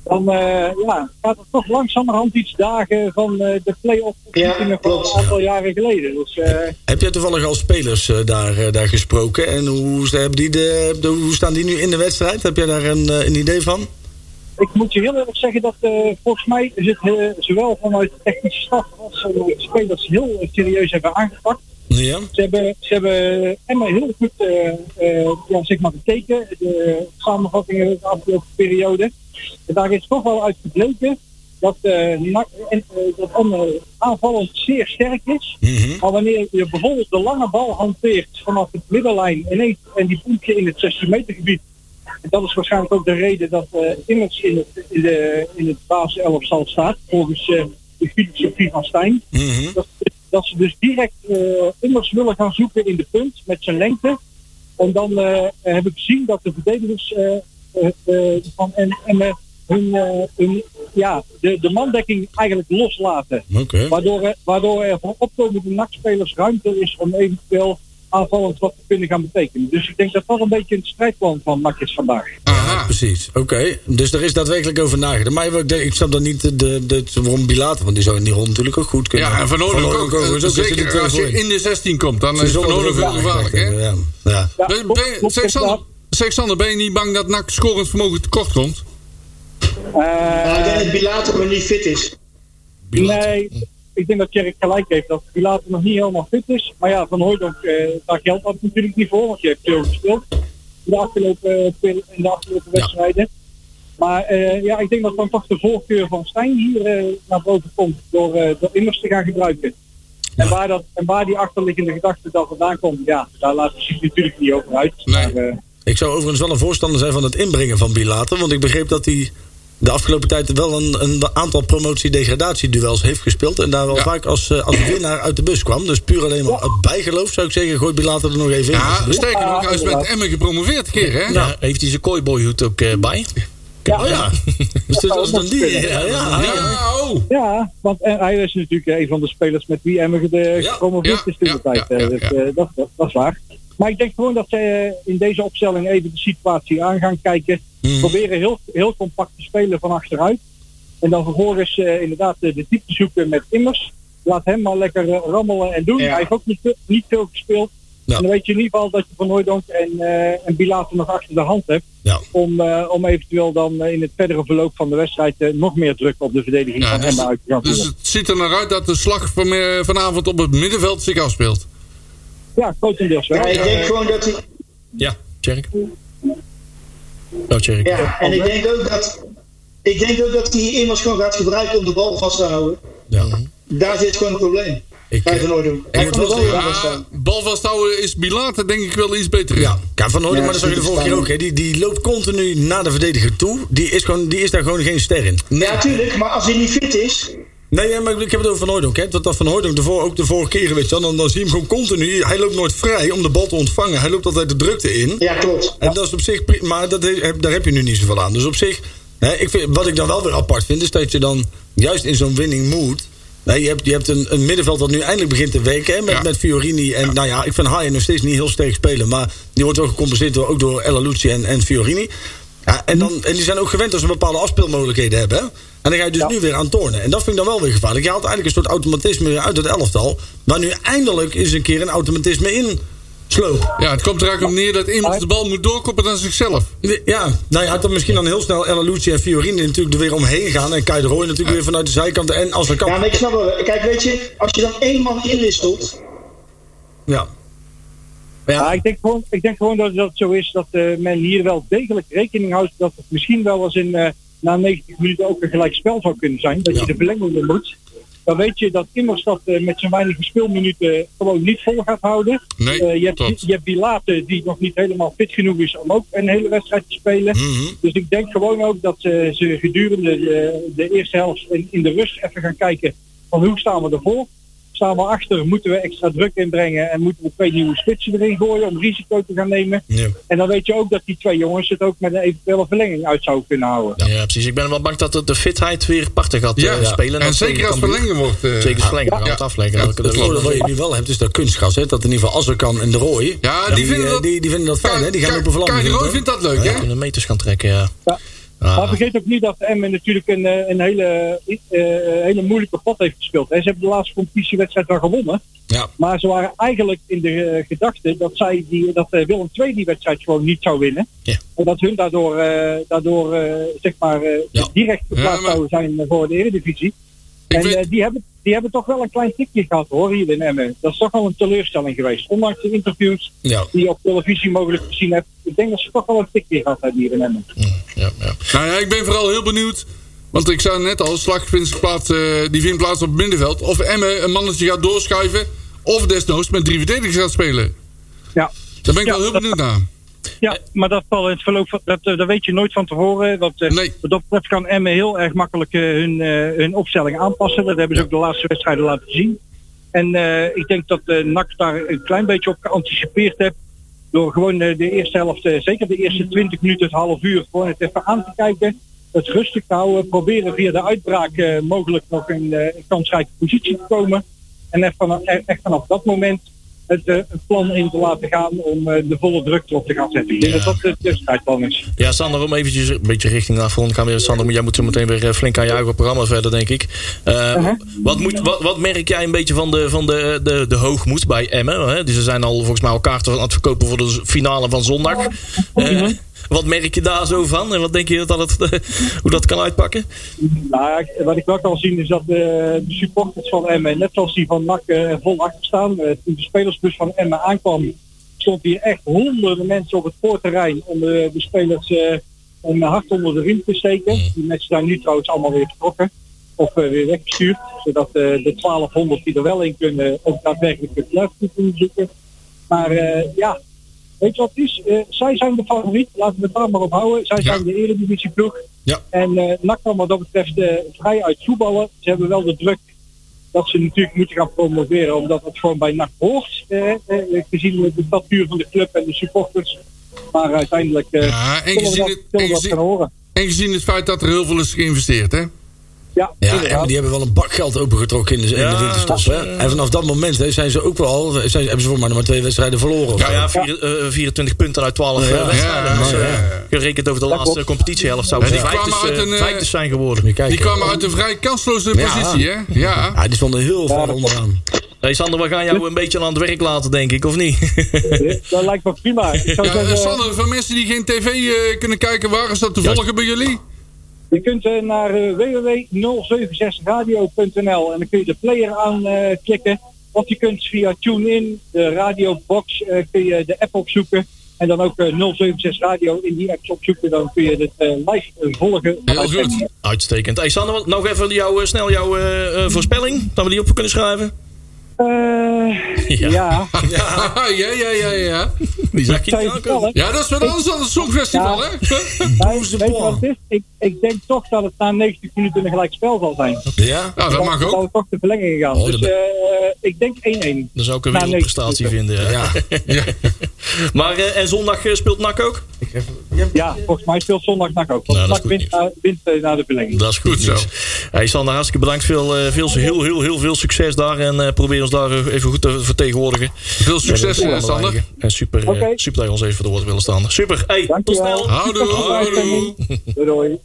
K: Dan eh, ja, gaat het toch langzamerhand iets dagen van eh, de play-off verkiezingen van een aantal jaren geleden. Dus eh,
G: Heb jij toevallig al spelers eh, daar, eh, daar gesproken? En hoe, sta- hebben die de, de- hoe staan die nu in de wedstrijd? Heb jij daar een, eh, een idee van?
K: ik moet je heel eerlijk zeggen dat eh, volgens mij zit eh, zowel vanuit de technische staf als eh, de spelers heel eh, serieus hebben aangepakt.
G: Ja.
K: Ze hebben, ze hebben Emma heel goed eh, eh, ja, zeg maar bekeken, de samenvattingen de afgelopen periode. En daar is toch wel uit gebleken dat, eh NAC en, eh, dat Emma aanvallend zeer sterk is. Maar wanneer je bijvoorbeeld de lange bal hanteert vanaf het middenlijn ineens en die pomp je in het 16 meter gebied. En dat is waarschijnlijk ook de reden dat eh Immers in het, in, de, in het basis 11 zal staat, volgens eh, de filosofie van Stijn dat, dat ze dus direct eh immers willen gaan zoeken in de punt met zijn lengte. En dan eh, heb ik gezien dat de verdedigers eh, eh, eh, van en, en, eh, hun, eh, hun- ja, de, de mandekking eigenlijk loslaten.
G: Oké.
K: Waardoor, er- waardoor er voor opkomende nachtspelers ruimte is om eventueel aanvallend wat te kunnen gaan betekenen. Dus ik denk dat dat een beetje het strijdplan van NAC is vandaag.
G: Precies, oké. Dus daar is daadwerkelijk over nagedacht. Maar ik, denk- ik snap dan niet de, de, de- waarom Bilater, want die zou in die rol natuurlijk ook goed kunnen.
H: Ja, en Van Oorlog ook.
G: overigens
H: Eh,
G: ook. Daar
H: zeker,
G: zitten twee
H: als je
G: voor
H: in de 16 komt, dan
G: Ze
H: is Van
G: zullen er
H: Oorlog
G: ook
H: heel
G: aan
H: gevaarlijk, hè?
G: gedacht hebben, Ja. Ja.
K: Ja,
H: Ben-
K: klopt,
H: ben-
K: klopt,
H: Zeg, Sander-
K: inderdaad.
H: zeg, Sander, ben je niet bang dat NAC scorend vermogen tekort komt?
K: Eh,
L: ik denk dat Bilater nog niet fit is.
K: Nee, ik denk dat Kerk gelijk heeft dat Pilater nog niet helemaal fit is. Maar ja, Van Hooydonk, eh daar geldt dat natuurlijk niet voor, want je hebt veel gespeeld in de afgelopen, eh, peri- in de afgelopen wedstrijden. Maar eh, ja, ik denk dat dan toch de voorkeur van Stijn hier eh, naar boven komt door, eh door immers te gaan gebruiken. En waar, dat, en waar die achterliggende gedachte dan vandaan komt, ja, daar laat hij zich natuurlijk niet over uit. Maar, eh,
G: Ik zou overigens wel een voorstander zijn van het inbrengen van Bilater. Want ik begreep dat hij de afgelopen tijd wel een, een aantal promotie-degradatieduels heeft gespeeld. En daar wel vaak als, eh, als winnaar uit de bus kwam. Dus puur alleen maar uit bijgeloof zou ik zeggen, gooi Bilater er nog even in.
H: Ja,
G: alsjeblieft.
H: sterker nog, hij is met Emmen gepromoveerd, keer, hè?
F: Ja, heeft hij zijn kooiboyhoed ook eh, bij?
K: ja,
G: Oh ja, dus dat was dan die. Ja, ja.
F: Ah,
H: Ja, oh.
K: Ja, want eh, hij is natuurlijk eh, een van de spelers met wie Emmer de
H: Ja,
K: gepromoveerd is toen de
H: ja,
K: tijd.
H: ja,
K: eh,
H: ja,
K: dus,
H: ja.
K: eh, dat, dat, dat is waar. Maar ik denk gewoon dat zij eh, in deze opstelling even de situatie aan gaan kijken.
H: Hmm.
K: Proberen heel, heel compact te spelen van achteruit. En dan vervolgens eh, inderdaad eh, de diepte zoeken met Immers. Laat hem maar lekker eh, rammelen en doen. Hij heeft ook niet, te- niet veel gespeeld.
G: Ja.
K: En dan weet je in ieder geval dat je Van Hooijdonk en, eh en Bilater nog achter de hand hebt.
G: Ja.
K: Om, eh, om eventueel dan eh, in het verdere verloop van de wedstrijd eh, nog meer druk op de verdediging
H: Ja,
K: van
H: dus,
K: Emma uit te gaan
H: dus
K: voeren.
H: het ziet er naar uit dat de slag van, eh, vanavond op het middenveld zich afspeelt.
K: Ja, grotendeels wel.
L: Ja, ik denk gewoon dat hij...
F: Ja, Tjerk. Oh, Tjerk.
L: Ja, en ik denk ook dat... Ik denk ook dat hij immers gewoon gaat gebruiken om de bal vast te houden.
G: Ja.
L: Daar zit gewoon het probleem.
G: Ik,
L: Bij
G: eh,
L: Van Oordonk.
G: ik
L: Hij
G: moet
L: kan de
G: wel
L: bal
G: zeggen-
L: weer vasthouden.
H: Ah, Bal vasthouden is Bilater denk ik wel iets beter. in.
G: Ja, ja, Van Hooydonk,
L: Ja,
G: maar dat zag je de
L: dat is
G: vorige keer ook. Hè. Die, die loopt continu naar de verdediger toe. Die is, gewoon, die is daar gewoon geen ster in.
L: Ja, tuurlijk, maar als hij niet fit is...
G: Nee, ja, maar ik heb het over Van Hooydonk. hè. Dat dat Van Hooydonk de voor, ook de vorige keer, weet je wel. Dan, dan zie je hem gewoon continu. Hij loopt nooit vrij om de bal te ontvangen. Hij loopt altijd de drukte in.
L: Ja, klopt.
G: En dat is op zich prima, maar dat he- heb, daar heb je nu niet zoveel aan. Dus op zich, hè, ik vind, wat ik dan wel weer apart vind, is dat je dan juist in zo'n winning mood. hè, je hebt, je hebt een, een middenveld dat nu eindelijk begint te werken. Hè, met, met Fiorini. En nou ja, ik vind Haaien nog steeds niet heel sterk spelen. Maar die wordt ook gecompenseerd door, ook door Ella Lucci en, en Fiorini. Ja, en, dan, en die zijn ook gewend dat ze bepaalde afspeelmogelijkheden hebben. hè. En dan ga je dus nu weer aan tornen. En dat vind ik dan wel weer gevaarlijk. Je haalt eigenlijk een soort automatisme weer uit het elftal. Waar nu eindelijk eens een keer een automatisme in sloopt.
H: Ja, het komt er eigenlijk op neer dat immers de bal moet doorkoppen dan zichzelf.
G: Ja, nou ja, dan misschien dan heel snel Ella Lucci en Fiorini natuurlijk er weer omheen gaan. En Kai de Roy natuurlijk weer vanuit de zijkant. En als er kan.
L: Ja, maar ik snap wel. Kijk, weet je, als je dan één man inwisselt...
G: Ja.
K: Ja, ik denk gewoon, ik denk gewoon dat dat zo is dat eh, men hier wel degelijk rekening houdt dat het misschien wel eens in, eh, na 90 minuten ook een gelijk spel zou kunnen zijn. Dat je de verlenging in moet. Dan weet je dat Immers dat eh, met zijn weinige speelminuten gewoon niet vol gaat houden.
H: Nee,
K: Eh, je, hebt,
H: klopt.
K: je hebt Bilate die nog niet helemaal fit genoeg is om ook een hele wedstrijd te spelen. Dus ik denk gewoon ook dat eh, ze gedurende de, de eerste helft en in de rust even gaan kijken van hoe staan we ervoor. Staan we achter, moeten we extra druk inbrengen en moeten we twee nieuwe spitsen erin gooien om risico te gaan nemen. En dan weet je ook dat die twee jongens het ook met een eventuele verlenging uit zouden kunnen houden.
F: Ja, precies. Ik ben wel bang dat het de fitheid weer parten gaat eh,
H: Ja, ja.
F: spelen.
H: En
F: Dat
H: zeker
F: tegen
H: als
F: Cambuur.
H: verlengen wordt, eh,
F: zeker als verlengen,
H: ja.
F: dan gaat het afleggen.
H: Ja,
F: Dan
H: dat
F: kunnen we-
H: klopt.
G: voordeel wat je nu wel hebt is dat kunstgas. Hè? Dat in ieder geval Azarkan en de Roy.
H: Ja, die vinden dat-
G: die, die vinden dat fijn.
H: Ka-
G: Hè? Die
H: Ka-
G: gaan op een
H: Kai de
G: verlanging.
H: Roy vindt dat leuk,
F: Ja,
H: hè?
F: kunnen meters gaan trekken, ja. Ah.
K: Maar vergeet ook niet dat de Emmen natuurlijk een, eh, een hele, eh, hele moeilijke pot heeft gespeeld. En ze hebben de laatste competitiewedstrijd wel gewonnen.
G: Ja.
K: Maar ze waren eigenlijk in de eh, gedachte dat, zij die, dat eh, Willem II die wedstrijd gewoon niet zou winnen.
F: Ja.
K: En dat hun daardoor, eh, daardoor eh, zeg maar, eh, direct geplaatst zouden zijn voor de Eredivisie. En eh, die, hebben, die hebben toch wel een klein tikje gehad hoor hier in Emmen. Dat is toch wel een teleurstelling geweest. Ondanks de interviews
G: Ja.
K: die je op televisie mogelijk gezien hebt. Ik denk dat ze toch wel een tikje gehad hebben hier in Emmen.
H: Nou ja, ik ben vooral heel benieuwd. Want ik zei net al, slagvindsplaats die vindt plaats op het middenveld. Of Emme een mannetje gaat doorschuiven. Of desnoods met drie verdedigers gaat spelen.
K: Ja.
H: Daar ben ik
K: Ja,
H: wel heel
K: dat-
H: benieuwd naar.
K: Ja, maar dat zal in het verloop van, dat, eh, dat weet je nooit van tevoren. Want eh, wat dat betreft kan Emmen heel erg makkelijk eh, hun, eh, hun opstelling aanpassen. Dat hebben ze ook de laatste wedstrijden laten zien. En eh, ik denk dat eh NAC daar een klein beetje op geanticipeerd heeft. Door gewoon eh, de eerste helft, eh, zeker de eerste 20 minuten, het half uur, gewoon het even aan te kijken. Het rustig te houden. Proberen via de uitbraak eh, mogelijk nog in eh, een kansrijke positie te komen. En echt vanaf, e- echt vanaf dat moment het eh, het plan in te laten gaan om eh, de volle druk erop te gaan zetten. Ik denk
F: Ja.
K: dat dat het wedstrijdplan is.
F: Ja, Sander, om eventjes een beetje richting naar voren gaan. Sander, maar jij moet zo meteen weer eh, flink aan je eigen programma verder, denk ik. Eh, wat, moet, wat, wat merk jij een beetje van de, van de, eh, de, de hoogmoed bij Emmen? Hè? Dus ze zijn al volgens mij elkaar te- aan het verkopen voor de finale van zondag. Eh, Wat merk je daar zo van? En wat denk je dat dat het, hoe dat kan uitpakken?
K: Nou, ik- wat ik wel kan zien is dat eh, de supporters van Emmen, net zoals die van NAC, eh, vol achter staan. Eh, toen de spelersbus van Emmen aankwam, stond hier echt honderden mensen op het voorterrein om de, de spelers eh, een hart onder de riem te steken. Die mensen zijn nu trouwens allemaal weer vertrokken of eh, weer weggestuurd, zodat eh, de 1200 die er wel in kunnen ook daadwerkelijk het luisteren kunnen zoeken. Maar eh, ja, weet je wat het is? Eh, zij zijn de favoriet, laten we het daar maar op houden. Zij zijn de eredivisie ploeg. En eh NAC kan wat dat betreft eh, vrij uit voetballen. Ze hebben wel de druk dat ze natuurlijk moeten gaan promoveren, omdat het gewoon bij NAC hoort. Eh, eh, gezien de statuur van de club en de supporters. Maar uiteindelijk eh
H: Ja, en
K: zullen we
H: gezien
K: dat,
H: het-
K: zullen we
H: en
K: dat
H: gezien-
K: gaan horen.
H: En gezien het feit dat er heel veel is geïnvesteerd, hè?
K: Ja,
G: Ja, en die hebben wel een bak geld opengetrokken in de, in de
H: Ja,
G: winterstop.
H: dat is,
G: hè?
H: eh,
G: En vanaf dat moment hè, zijn ze ook wel, zijn, ze- hebben ze voor mij nog maar twee wedstrijden verloren. of
F: Ja,
G: zo.
F: ja, vier- eh, 24 punten uit 12
G: Ja,
F: eh, wedstrijden.
G: ja,
F: Dus, eh,
G: ja, ja.
F: Gerekend over de
G: Dat
F: laatste
G: klopt.
F: competitiehelft zou
G: Ja,
F: het
G: die
F: vijftes,
G: kwamen uit
F: eh,
G: een, eh,
F: vijftes zijn geworden.
H: Die kwamen uit een vrij kansloze positie, hè? Ja.
G: eh, ja die stonden heel ver onderaan.
F: Hey Sander, we gaan jou een beetje aan het werk laten, denk ik, of niet?
K: Eh, Dat lijkt me prima. Ik zou
H: Ja,
K: zeggen,
H: eh, Sander, voor mensen die geen tv eh, kunnen kijken, waar is dat te
F: Juist.
H: volgen bij jullie?
K: Je kunt eh, naar eh, www.076radio.nl en dan kun je de player aanklikken. of je kunt via TuneIn, de radiobox, eh, kun je de app opzoeken. En dan ook eh, 076 Radio in die apps opzoeken. Dan kun je het eh, live eh, volgen.
F: Heel goed. Uitstekend. Hey Sander, wat- nog even jou, eh, snel jouw eh, eh, voorspelling, dat we die op kunnen schrijven.
K: Eh,
F: Ja.
K: ja.
H: ja, ja, ja, ja, ja.
F: Die zag je niet
K: Zou je
F: aankomen.
K: vertellen?
H: Ja, dat is wat
K: Ik-
H: anders dan het Songfestival, hè?
K: Ja. Nee, weet je wat het is? Ik, ik denk toch dat het na 90 minuten een gelijkspel zal zijn.
F: Ah,
G: Ja,
H: Ja, Ah, dat mag ook.
K: Dan zal het toch de verlenging gaan.
F: Oh, dat
K: dus eh, ik denk 1-1.
F: Dan zou ik een
K: Na
F: wereldprestatie
K: 90
F: vinden. Ja. maar eh, en zondag eh, speelt NAC ook?
K: Ja, volgens mij speelt zondag NAC ook.
F: Nou,
K: Want
F: dat
K: NAC
F: is goed
K: wint, na- wint eh, na de verlenging.
F: Dat is goed, zo. Hey Sander, hartstikke bedankt. Veel, eh, veel, heel, heel, heel veel succes daar. En eh, probeer ons daar eh, even goed te vertegenwoordigen.
H: Veel succes,
F: En, eh,
H: eh, Sander.
F: En super, eh,
K: Oké.
F: super dat je ons even voor de woord willen staan. Super. Hey, tot snel.
H: Houdoe, houdoe.
K: Doei, doei.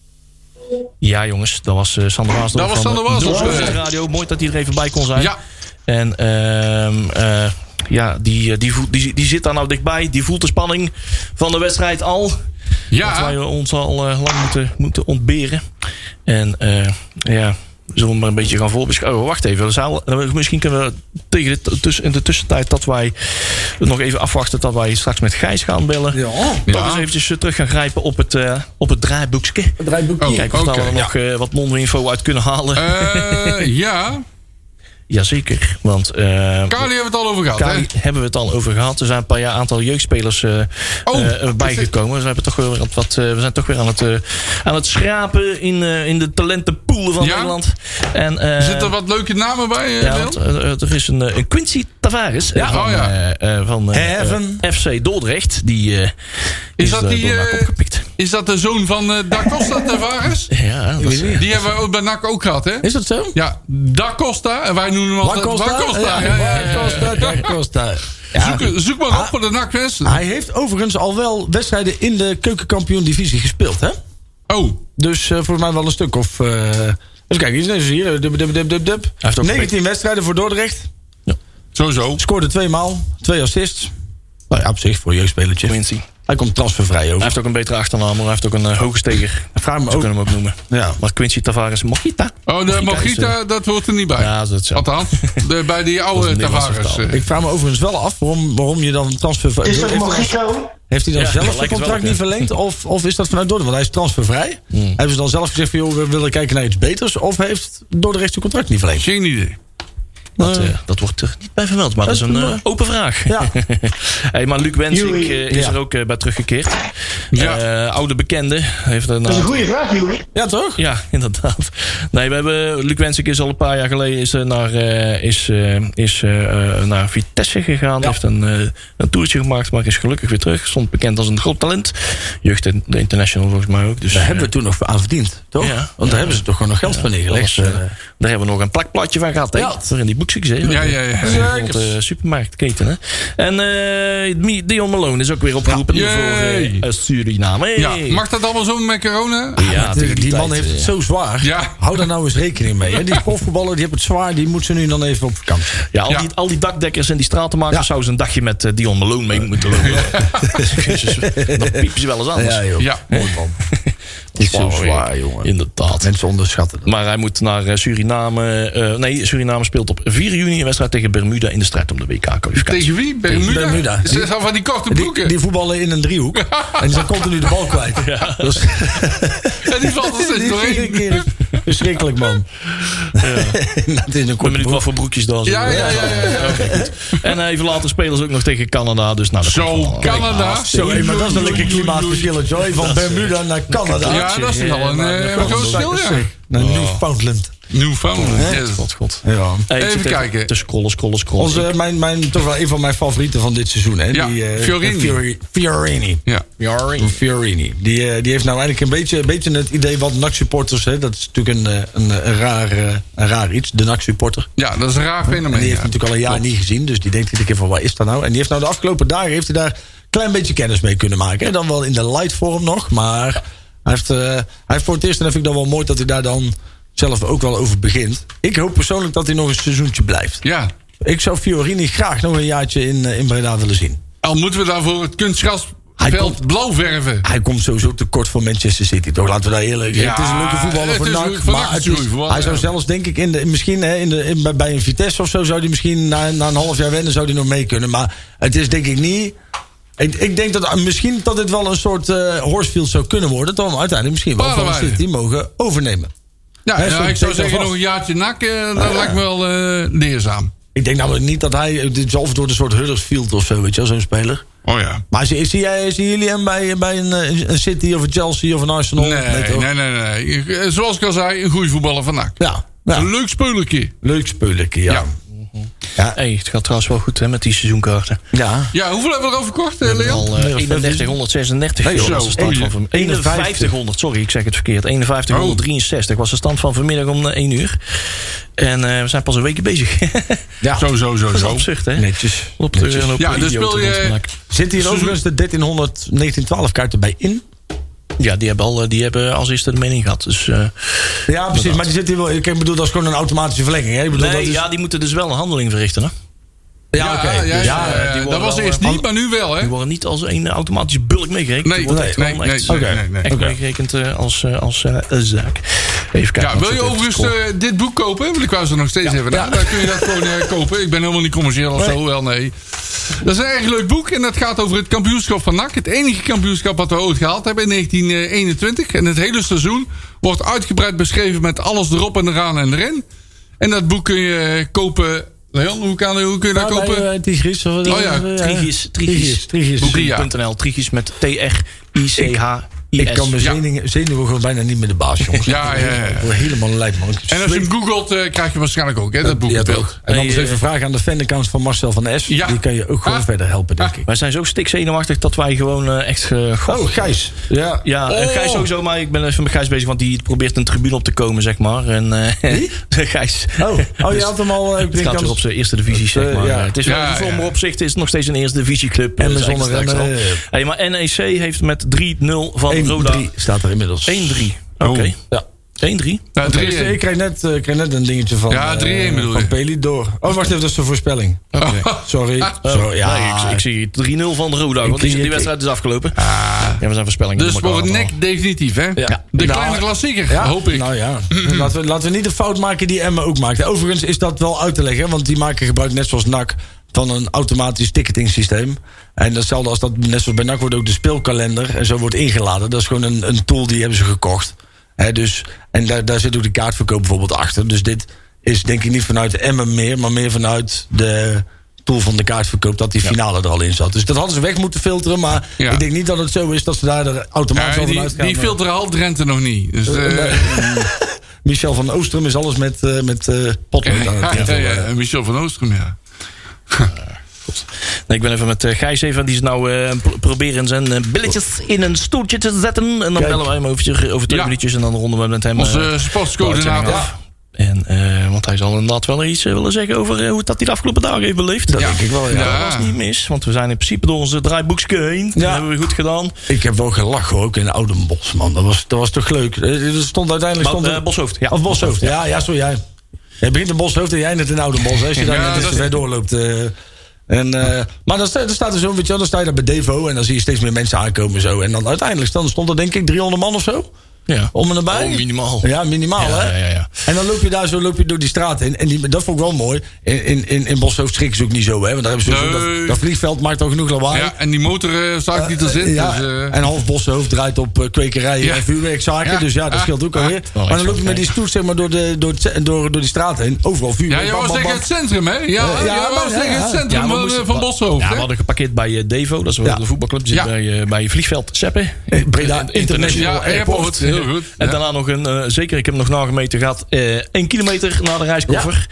F: Ja, jongens, dat was eh, Sander Waasdorf.
H: Dat was
F: van, eh,
H: Sander Waasdorf,
F: Doornbos
H: eh.
F: Radio. Mooi dat hij er even bij kon zijn.
H: Ja.
F: En ehm, eh, ja, die, eh, die, voelt- die, die zit daar nou dichtbij. Die voelt de spanning van de wedstrijd al.
H: Ja.
F: Dat wij ons al eh, lang moeten, moeten ontberen. En eh, ja, zullen we maar een beetje gaan voorbeschouwen. Oh, wacht even. we zouden- misschien kunnen we tegen de, t- tussen, in de tussentijd dat wij nog even afwachten dat wij straks met Gijs gaan bellen. Ja. Toch
H: Ja.
F: eens eventjes eh, terug gaan grijpen op het, eh, op het draaiboekje.
G: Draaiboekje.
H: Oh,
F: Kijken of
H: oké.
F: daar we nog eh, wat non-info uit kunnen halen.
H: Eh, ja.
F: Jazeker. Want, eh,
H: Kali hebben we het al over gehad,
F: Kali hebben we het al over gehad. Er zijn een paar jaar aantal jeugdspelers eh,
H: Oh,
F: eh, bijgekomen. Dus we, hebben toch weer wat, wat, eh, we zijn toch weer aan het, eh, aan het schrapen in, eh, in de talentenpoolen van
H: Ja?
F: Nederland. En, eh,
H: Zitten er wat leuke namen bij, eh,
F: ja,
H: Wil?
F: want, eh, eh, er is een, eh, een Quincy Tavares eh,
H: Ja.
F: van,
H: Oh, ja.
F: eh, eh, van eh,
H: Heaven.
F: eh, FC Dordrecht. Die eh,
H: Is,
F: is,
H: dat
F: eh,
H: die,
F: door NAC
H: eh,
F: opgepikt.
H: is dat de zoon van eh Da Costa Tavares?
F: Ja, dat is- eh,
H: Die hebben we ook bij NAC ook gehad, hè?
G: Is dat zo?
H: Ja, Da Costa. En wij noemen hem
G: Da
H: altijd
G: Costa?
H: Da Costa.
G: Ja,
H: ja, ja,
G: Da
H: ja.
G: Costa, Da Costa. Ja.
H: Zoek, zoek maar
F: Ah.
H: op voor de nac mensen.
G: Hij heeft overigens al wel wedstrijden in de keukenkampioen-divisie gespeeld, hè?
F: Ah.
H: Oh.
G: Dus eh volgens mij wel een stuk of... eh even kijken, hier is deze hier. Dub, dub, dub, dub, dub.
F: heeft ook
G: 19 wedstrijden voor Dordrecht.
F: Ja.
H: Sowieso.
G: Scoorde twee maal, twee assists. Nou ja, op zich voor een jeugdspelertje.
F: Quincy.
G: Hij komt transfervrij over.
F: Hij heeft ook een betere achternaam, maar hij heeft ook een eh, hoge steger.
G: Vraag me
F: Zo
G: ook-
F: kunnen we hem ook noemen.
G: Ja.
F: Maar Quincy Tavares Mojita.
H: Oh, de
F: is, eh,
H: Mogita, dat hoort er niet bij.
F: Ja, dat is het zo.
H: Althans, de, bij die
F: Dat is
H: oude
F: een Nederlandse
H: Tavares.
F: vertaling.
H: eh.
G: Ik vraag me overigens wel af waarom, waarom je dan transfer...
L: Is dat
G: heeft, hij dan,
L: Magico?
G: heeft hij dan
F: Ja, dat lijkt
G: zelf zijn
F: het wel
G: contract
F: op,
G: niet
F: ja. Hmm.
G: verlengd? Of, of is dat vanuit Dordrecht? Want hij is transfervrij. Hebben ze dan zelf gezegd van... joh, we willen kijken naar iets beters? Of heeft Dordrecht zijn contract niet verlengd?
H: Geen idee.
F: Dat, eh, dat wordt er niet bij vermeld, maar dat is een eh, open vraag.
G: Ja.
F: hey, maar Luc Wensink
L: Joeri.
F: eh, is
G: Ja.
F: er ook eh, bij teruggekeerd.
H: Ja.
F: Eh, oude bekende. Heeft een,
L: Dat is een goede vraag, Joeri.
F: eh,
G: Ja, toch?
F: Ja, inderdaad. Nee, we hebben, Luc Wensink is al een paar jaar geleden is, eh, naar, eh, is, eh, is, eh, eh, naar Vitesse gegaan. Heeft een, eh, een toertje gemaakt, maar is gelukkig weer terug. Stond bekend als een groot talent. Jeugd in- de International volgens mij ook. Dus,
G: Daar
F: eh,
G: hebben we toen nog aan verdiend, toch?
F: Ja.
G: Want daar
F: Ja.
G: hebben ze toch gewoon nog geld van neergelegd.
F: dat was,
G: Eh,
F: eh, daar hebben we nog een plakplaatje van gehad. hè?
G: Ja.
F: Voor in die boekjes. hè?
H: Ja, ja, ja.
F: Rond de eh, supermarktketen. Hè? En eh, Mi- Dion Malone is ook weer opgeroepen
H: Ja.
F: voor eh,
H: Yay.
F: Suriname.
H: Ja, mag dat allemaal zo met corona?
F: Ja,
G: die,
F: tegen
G: die
F: tijd,
G: man heeft
F: eh,
G: het zo zwaar.
H: Ja.
G: Hou daar nou eens rekening mee. Hè? Die profvoetballer die hebben het zwaar. Die moet ze nu dan even op vakantie.
F: Ja, al,
H: Ja.
F: Die, al die dakdekkers en die stratenmakers
G: Ja.
F: zouden ze een dagje met eh, Dion Malone mee moeten lopen. Jezus, Dan piepen ze wel eens anders.
G: joh.
H: Ja.
G: Mooi man. Die is zo
F: Wauw,
G: zwaar, jongen.
F: Inderdaad.
G: Mensen onderschatten dat.
F: Maar hij moet naar eh, Suriname. eh, nee, Suriname speelt op 4 juni een wedstrijd tegen Bermuda in de strijd om de WK-kwalificatie.
H: Tegen wie? Bermuda?
G: Bermuda.
H: Ze zijn van die korte broeken.
G: Die, die voetballen in een driehoek. En die zijn continu de bal kwijt. Dat is
H: Ja, Oh, die valt er steeds
G: die
H: doorheen.
G: keer verschrikkelijk, man. dat is een
F: Ik ben
G: korte
F: benieuwd wat voor broekjes dan
H: Ja, ja, ja. ja, ja.
F: En eh, even later spelen ze ook nog tegen Canada. Dus nou, dat komt
H: Zo,
F: allemaal wel.
H: Canada.
G: Zo, hé, maar dat is een lekker klimaatverschil. Joy, van Bermuda naar Canada.
H: Ja, dat is
F: Ja,
H: wel een
F: maar
H: eh,
F: dat
H: een groot
F: is
H: stil, ja.
G: Naar Newfoundland.
H: Newfoundland. yes.
F: God, god.
G: Ja.
F: Hey, ik
H: Even
F: zit
H: kijken.
F: Te scrollen, scrollen, scrollen.
G: Onze, mijn, mijn, toch wel een van mijn favorieten van dit seizoen. Hè?
H: Ja,
G: die, eh,
H: Fiorini.
G: Fiori- Fiorini.
H: Ja.
G: Fiorini. Die, eh, die heeft nou eigenlijk een beetje, een beetje het idee wat NAC-supporters... hè, dat is natuurlijk een, eh, een, eh, een raar, eh, een raar iets, de NAC-supporter.
H: ja, dat is een raar
G: En die
H: fenomeen.
G: heeft
H: ja.
G: natuurlijk al een jaar niet gezien. Dus die denkt iedere keer van, wat is dat nou? En die heeft nou de afgelopen dagen heeft hij daar een klein beetje kennis mee kunnen maken. hè. Dan wel in de light vorm nog. Maar hij, heeft, eh, hij heeft voor het eerst, en dat vind ik dan wel mooi... dat hij daar dan zelf ook wel over begint. Ik hoop persoonlijk dat hij nog een seizoentje blijft.
H: Ja.
G: Ik zou Fiorini graag nog een jaartje in, eh, in Breda willen zien.
H: Al moeten we daarvoor het
G: Hij
H: kunstgrasveld
G: komt-
H: blauw verven.
G: Hij komt sowieso tekort voor Manchester City. Toch laten we daar eerlijk zijn.
H: Ja,
G: het is een leuke voetballer
H: het
G: voor
H: is
G: NAC.
H: leuk voor NAC,
G: maar het is-
H: natuurlijk, want,
G: hij zou
H: ja.
G: zelfs denk ik in de, misschien hè, in de, in- bij- bij een Vitesse of zo... zou hij misschien na, na een half jaar wennen zou hij nog mee kunnen. Maar het is denk ik niet... Ik, ik denk dat ah, misschien dat dit wel een soort eh Horsfield zou kunnen worden. Dat we hem uiteindelijk misschien wel van
H: Paardenwaaien.
G: City mogen overnemen.
H: Ja,
G: Hij is
H: ja,
G: ook
H: ik
G: zeker
H: zou zeggen
G: vast. Oh,
H: nog een jaartje nak. eh, dat lijkt me wel eh, leerzaam.
G: Ik denk namelijk niet dat hij... Dit is of door een soort Huddersfield of zo, weet je wel, zo'n speler.
H: Oh ja.
G: Maar zie, zie jij, zien jullie hem bij, bij een, eh, een City of een Chelsea of een Arsenal?
H: Nee,
G: Oh, toch?
H: nee, nee, nee. Ik- eh, Zoals ik al zei, een goede voetballer van NAC.
G: Ja, ja.
H: Een leuk spelletje.
G: leuk spelletje, ja.
H: Ja.
G: ja.
F: Hey, het gaat trouwens wel goed hè, met die seizoenkaarten.
H: Ja, hoeveel hebben we erover verkocht, eh, Leon?
F: Al eh, 3136
G: Nee,
F: joh,
G: zo.
F: was de stand van vanmiddag. 5100, sorry, ik zeg het verkeerd. 5163 was de stand van vanmiddag om eh, 1 uur. En eh, we zijn pas een week bezig.
G: Ja.
H: Zo, zo, zo,
F: Dat is
H: zo.
F: absurd, hè? eh,
G: Netjes.
F: Op
G: Netjes.
F: de,
H: Ja, dus speel je-
G: Zitten hier
H: Seizoen-
G: overigens de 1300 1912 kaarten bij in?
F: Ja, die hebben, al, eh, die hebben als eerste de mening gehad. Dus, eh,
G: Ja, precies. Maar die zitten hier wel. Ik bedoel, dat is gewoon een automatische verlenging. Hè? Ik bedoel, dat
F: nee,
G: is,
F: ja, die moeten dus wel een handeling verrichten. Hè?
G: ja, oké.
H: ja,
G: Dus-
H: ja,
F: eh, die
H: ja.
F: worden
H: dat was
F: wel,
H: eerst
F: eh,
H: niet, maar nu wel, hè?
F: Die worden niet als een automatische bulk meegerekend.
H: Nee,
F: Die worden
H: nee,
F: echt gewoon
H: nee,
F: echt,
H: nee,
F: eh,
H: nee, nee, nee.
F: echt
H: Oké.
F: meegerekend eh, als, eh, als eh, een zaak. Even kijken.
H: Ja,
F: want
H: wil
F: ik
H: je
F: zit even te
H: overigens
F: scrollen.
H: eh, dit boek kopen? Want ik wou ze nog steeds even naar. Dan kun je dat gewoon eh, kopen. Ik ben helemaal niet commercieel of zo, wel nee. Dat is een erg leuk boek en dat gaat over het kampioenschap van NAC. Het enige kampioenschap wat we ooit gehaald hebben in 1921. En het hele seizoen wordt uitgebreid beschreven met alles erop en eraan en erin. En dat boek kun je eh, kopen. Leon, hoe, kan, hoe kun je dat
G: Nou, bij,
H: kopen?
G: eh, Tigris of wat
H: Oh ja,
G: eh,
F: Trigis, Trigis,
G: Trigis, Trigis.
F: Boeking.nl, Trigis met E T-R-I-C-H.
G: Ik kan mijn zenuwen, zenuwen gewoon bijna niet meer de baas, jongens.
H: Ja, ja, ja.
G: Ik word helemaal lijp, man. Ik
H: En als je hem googelt, eh, krijg je waarschijnlijk ook hè, dat boek.
G: Ja,
H: op beeld. eh,
G: toch. En anders even
F: eh,
G: vragen aan de fanaccount van Marcel van S.
H: Ja. Ah.
G: Die kan je ook gewoon verder helpen, denk ik.
F: Wij zijn zo stikzenuwachtig dat wij gewoon eh, echt... eh, goh,
G: Oh, Gijs. Ja.
F: Ja, eh,
G: Oh.
F: Gijs sowieso, maar ik ben even met Gijs bezig, want die probeert een tribune op te komen, zeg maar. En, eh, Gijs.
G: Oh, oh, je had hem al... eh, ik
F: Dus Het gaat
G: denk
F: weer
G: anders-
F: op zijn eerste divisie,
G: Het,
F: zeg
G: eh,
F: maar.
G: ja.
F: Het is
H: Ja,
F: wel, voor
H: ja.
F: mijn opzicht is het nog steeds een eerste divisieclub.
G: En
F: eh,
G: we
F: zei ik
G: zonder
F: straks al.
G: rennen.
F: Hey, maar NEC heeft met 3-0 van Roda... 1-3.
G: 1-3 staat er inmiddels.
H: Oh.
G: Oh.
F: Oké.
G: Ja.
F: 1-3.
H: Ja,
G: Want ik-
H: 3-1.
G: ik kreeg net, eh, ik kreeg net een dingetje van,
H: Ja, 3-1
G: eh,
H: bedoel je. Oh.
G: van Peli door. Oh, wacht even, dat is de voorspelling. Sorry. Eh,
H: Ah.
G: Sorry, Oh, ja.
F: Nee, ik, ik zie 3-0 van Roda, want
G: Ik-
F: die, die
G: ik- Ah. Oh.
F: wedstrijd is afgelopen. ja, we zijn voorspellingen
H: Dus
F: door elkaar
H: voor het
F: aan het
H: nek definitief, hè?
G: Ja.
H: De
G: Nou,
H: kleine klassieker,
G: Ja,
H: hoop ik.
G: Nou ja, laten we, laten we niet de fout maken die Emma ook maakt. Overigens is dat wel uit te leggen, want die maken gebruik net zoals NAC van een automatisch ticketing systeem. En datzelfde als dat, net zoals bij NAC wordt ook de speelkalender en zo wordt ingeladen. Dat is gewoon een, een tool die hebben ze gekocht. Hè, dus, en daar, daar zit ook de kaartverkoop bijvoorbeeld achter. Dus dit is denk ik niet vanuit Emma meer, maar meer vanuit de tool van de kaartverkoop dat die finale er al in zat. Dus dat hadden ze weg moeten filteren, maar
H: Ja.
G: ik denk niet dat het zo is dat ze daar er automatisch
H: Ja,
G: al
H: die,
G: vanuit gaan. eh.
H: die filteren half Drenthe nog niet. Dus, eh,
G: Michel van Oostrum is alles met, eh met eh, potlood aan het
H: ja,
G: invullen.
H: ja, ja, Michel van Oostrum, ja.
F: Nee, ik ben even met eh, Gijs even. Die is nou eh, pro- proberen zijn eh, billetjes in een stoeltje te zetten. En dan
G: Kijk.
F: bellen wij hem over, over twee
H: Ja.
F: minuutjes. En dan ronden we met hem.
H: Onze
F: eh,
H: sportscoördinator.
F: de uitzending af. En, eh, want hij zal inderdaad wel iets eh, willen zeggen over eh, hoe het dat hij de afgelopen dagen heeft beleefd.
G: Dat denk ik wel, ja.
H: Ja.
F: Dat was niet mis, want we zijn in principe door onze draaiboekske heen. Dat
G: Ja.
F: hebben we goed gedaan.
G: Ik heb wel gelachen hoor, ook in Oudenbos, man. Dat was, dat was toch leuk. Eh, Er stond uiteindelijk...
F: Maar,
G: Stond er-
F: eh, Boshoofd, ja.
G: Of Boshoofd, ja, ja, zo jij. Jij begint in Boshoofd en jij net in Oudenbos. hè, Als je daar
H: Ja,
G: net
H: dat
G: eens
H: is-
G: ver doorloopt. eh. en, eh, maar dan, sta- dan staat er zo, weet je wel, dan sta je daar bij Devo... en dan zie je steeds meer mensen aankomen zo. En dan uiteindelijk dan stond er denk ik 300 man of zo.
F: Ja.
G: Om en nabij.
F: Oh, minimaal.
G: Ja, minimaal
F: Ja,
G: hè.
F: ja, ja.
G: En dan loop je daar zo loop je door die straat heen. En die, dat vond ik wel mooi. In, in, in, in Boshoofd schrikken ze ook niet zo hè. Want daar hebben ze
H: Nee.
G: zo, dat, dat vliegveld maakt al genoeg lawaai.
H: Ja, en die motor eh staat niet
G: Eh,
H: te zitten.
G: ja,
H: dus, eh,
G: en half Bossenhoofd draait op eh, kwekerijen
H: Ja.
G: en vuurwerkzaken.
H: Ja.
G: Dus ja, dat
H: Ah,
G: scheelt ook
H: ah.
G: alweer.
F: Wel
G: maar
F: iets
G: dan loop je
F: van
G: met die stoet zeg maar, door, de, door, het ce- door, door die straat heen. Overal
H: ja,
G: vuurwerk.
H: jij
G: bam,
H: was
G: bam,
H: tegen
G: bam. Eh,
H: het centrum, hè? Ja,
G: ja,
H: jij
G: maar-
H: was tegen
G: ja,
H: het
G: ja.
H: centrum eh,
F: we
H: van,
F: moesten-
H: van Boshoofd,
F: Ja, we
H: hè?
F: hadden geparkeerd bij eh, Devo. Dat is wel
G: Ja.
F: de voetbalclub. Die zit
H: Ja.
F: bij, eh, bij Vliegveld Seppen.
G: Eh, Breda International
H: Ja, airport. Heel goed.
F: En
H: Ja.
F: daarna nog een, eh, zeker, ik heb hem nog nagemeten gehad, eh 1 kilometer naar de reiskoffer.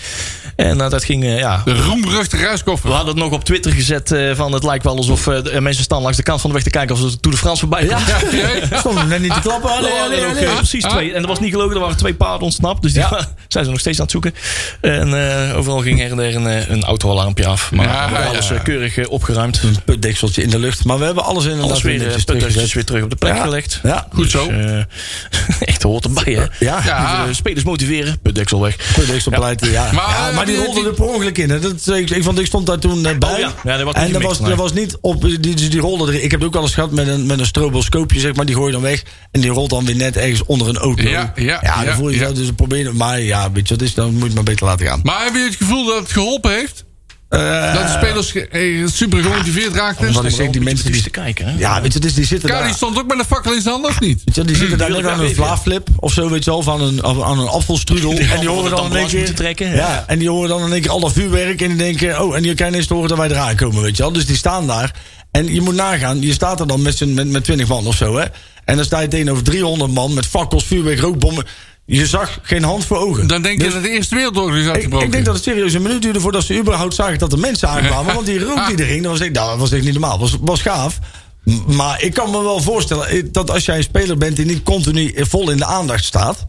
F: En eh, dat ging, eh, ja.
H: De roemruchte reiskoffer.
F: We hadden het nog op Twitter gezet eh, van het lijkt wel alsof eh, de- mensen staan langs de kant van de weg te kijken of ze Tour de France voorbij komt.
H: Ja, ja, ja.
G: Stond hem net niet te klappen.
F: Er
G: Allee,
F: waren
G: allee,
F: er ook,
G: allee.
F: eh, precies
H: Ah.
F: twee. En dat was niet gelogen, er waren twee paarden ontsnapt. Dus die
G: Ja.
F: zijn ze nog steeds aan het zoeken. En eh, overal ging her en der een, eh, een autoalarmpje af. Maar
H: Ja,
F: we hebben
H: ja.
F: alles eh, keurig eh, opgeruimd.
G: Een Putdekseltje in de lucht. Maar we hebben alles in
F: Alles weer, eh, putdekjes weer terug op de plek
G: Ja.
F: gelegd.
G: Ja,
H: Goed zo.
F: Dus, eh, echt hoort erbij, hè?
G: ja.
H: Ja.
F: Dus, eh, spelers motiveren, putdeksel weg.
G: Putdeksel pleiten, ja.
H: Maar,
G: Maar,
H: eh,
G: maar die
H: die-
G: rolde
H: die- Oh
G: er per ongeluk in. Hè. Dat, eh, ik, ik, vond, ik stond daar toen eh, bij.
F: ja. Ja, dat wordt niet
G: en
F: gemixt,
G: dat was,
F: nee.
G: dat was niet op. Die, die, die rolde erin. Ik heb het ook al eens gehad met een, met een stroboscoopje, zeg maar. Die gooi je dan weg. En die rolt dan weer net ergens onder een auto.
H: Ja, ja,
G: dan
H: ja,
G: voel je
H: ja.
G: zelf. Dus dan probeer je. Maar ja, weet je wat is, dan moet je het maar beter laten gaan.
H: Maar hebben jullie het gevoel dat het geholpen heeft?
G: Eh,
H: Dat de spelers ge- eh, super gemotiveerd
G: wat
H: raakten?
G: ik zeg, die mensen
F: Dus
G: die.
F: te kijken, hè?
G: Ja, weet je, dus die zitten
H: Ja,
G: daar.
H: die stond ook met een fakkel in zijn hand, of niet?
G: Weet je, wel, die zitten daar
F: wil
G: net
F: ik
G: aan
F: wel
G: een
F: weten.
G: vlaaflip of zo, weet je wel, van een, af- aan een afvalstrudel.
F: Die
G: en die horen dan in één
F: ambulance
G: keer...
F: moeten trekken,
G: ja.
F: ja.
G: en die horen dan in één keer al dat vuurwerk en die denken... Oh, en die krijgen ineens te horen dat wij eraan komen, weet je wel. Dus die staan daar. En je moet nagaan, je staat er dan met, z'n- met, met 20 man of zo, hè. En dan sta je tegenover 300 man met fakkels, vuurwerk, rookbommen. Je zag geen hand voor ogen.
H: Dan denk je
G: Dus
H: dat de Eerste Wereldoorlog is
G: ik,
H: uitgebroken.
G: ik denk dat het serieus een minuut duurde voordat ze überhaupt zagen dat er mensen aankwamen. Want die rook die er ging, dat was echt, nou, dat was echt niet normaal. Dat was, was gaaf. M- Maar ik kan me wel voorstellen eh, dat als jij een speler bent die niet continu eh, vol in de aandacht staat.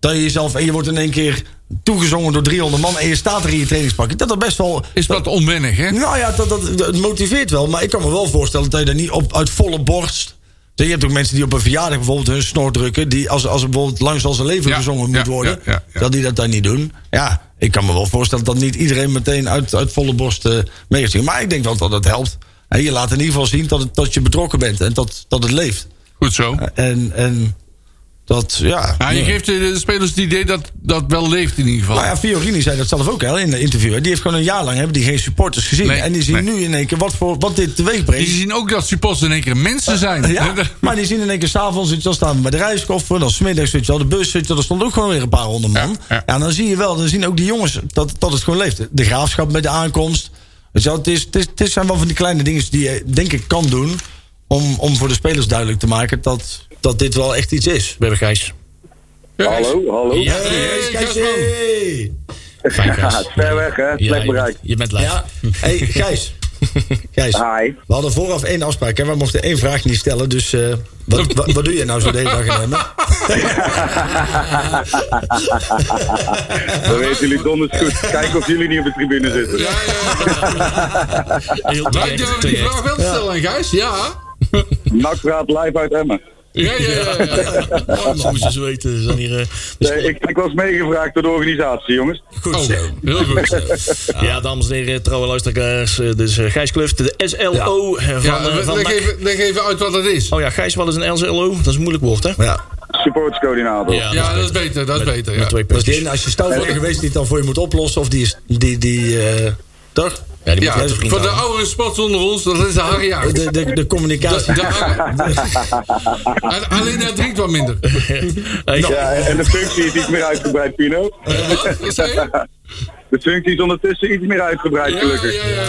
G: Dat je jezelf, en je wordt in één keer toegezongen door 300 man en je staat er in je trainingspakje. Dat dat best wel...
H: Is wat onwennig, hè?
G: Nou ja, dat, dat, dat motiveert wel. Maar ik kan me wel voorstellen dat je daar niet op, uit volle borst... Je hebt ook mensen die op een verjaardag bijvoorbeeld hun snor drukken. Die als, als er bijvoorbeeld langs al zijn leven
H: Ja,
G: gezongen
H: ja,
G: moet worden.
H: ja, ja, ja.
G: Dat die dat dan niet doen. Ja, ik kan me wel voorstellen dat niet iedereen meteen uit, uit volle borst eh meegezingt. Maar ik denk wel dat dat helpt. En je laat in ieder geval zien dat, het, dat je betrokken bent en dat, dat het leeft.
H: Goed zo.
G: En, en Dat, ja.
H: Ja, je geeft de de spelers het idee dat dat wel leeft in ieder geval.
G: Nou ja, Fiorini zei dat zelf ook hè, in de interview. hè. Die heeft gewoon een jaar lang hebben die geen supporters gezien.
H: Nee,
G: en die zien nu in één keer wat, voor, wat dit teweeg brengt.
H: Die zien ook dat supporters in één keer mensen zijn.
G: Ja, maar die zien in één keer s'avonds, weet je wel, staan we bij de reiskoffer. Dan smiddags, weet je wel, de bus, weet je wel, er stond ook gewoon weer een paar honderd man. Ja, dan zie je wel, dan zien ook die jongens dat, dat het gewoon leeft. De graafschap met de aankomst. Weet je wel, het, is, het, is, het is- zijn wel van die kleine dingen die je denk ik kan doen... om, om voor de spelers duidelijk te maken dat, dat dit wel echt iets is.
F: We hebben Gijs.
K: Hallo, hallo.
F: Ja, Fijn, Gijs.
K: Ja, het is ver weg, hè?
F: Ja,
K: Slecht
F: je
K: bereik.
F: bent- je bent live.
G: Ja. Hey, Gijs. Gijs.
K: Ah,
G: We hadden vooraf één afspraak. Hè? We mochten één vraag niet stellen. Dus eh, wat, wat, wat doe je nou zo de hele dag in Emmen?
K: Dan weten jullie donders goed. Kijk of jullie niet op de tribune zitten.
F: Heel
H: Maar ik durf die vraag wel te stellen aan Gijs. Ja.
K: Nakpraat live uit Emmen.
H: Ja, ja, ja.
F: Dat moeten ze weten. Ze zijn hier, eh,
K: Nee, ik, ik was meegevraagd door de organisatie, jongens.
F: Goed zo. Heel goed zo. Ja, dames en heren, trouwe luisteraars. eh, Dus eh, Gijs Kluft, de SLO van,
H: Ja,
F: eh, van
H: leg,
F: NAC.
H: even, leg even uit wat het is.
F: Oh ja, Gijs, wat is een SLO? Dat is een moeilijk woord, hè?
G: Ja.
K: Supportscoördinator.
F: Ja,
H: Ja, dat is beter, dat is beter. Ja.
F: Met twee
G: Dat
F: puntjes.
G: is die ene, als je stout bent geweest, die het dan voor je moet oplossen. Of die is. Die, die, eh toch?
F: Ja, die moet
H: Ja,
F: je vriend
H: voor de
F: houden.
H: oudere spots onder ons, dat is de harjaar.
G: De, de, de communicatie.
H: Alleen dat drinkt wat minder.
G: Nou.
F: Hey,
K: Ja, en de functie is iets meer uitgebreid, Pino.
H: Wat zei je?
K: De functie is ondertussen iets meer uitgebreid, gelukkig.
H: Ja, ja,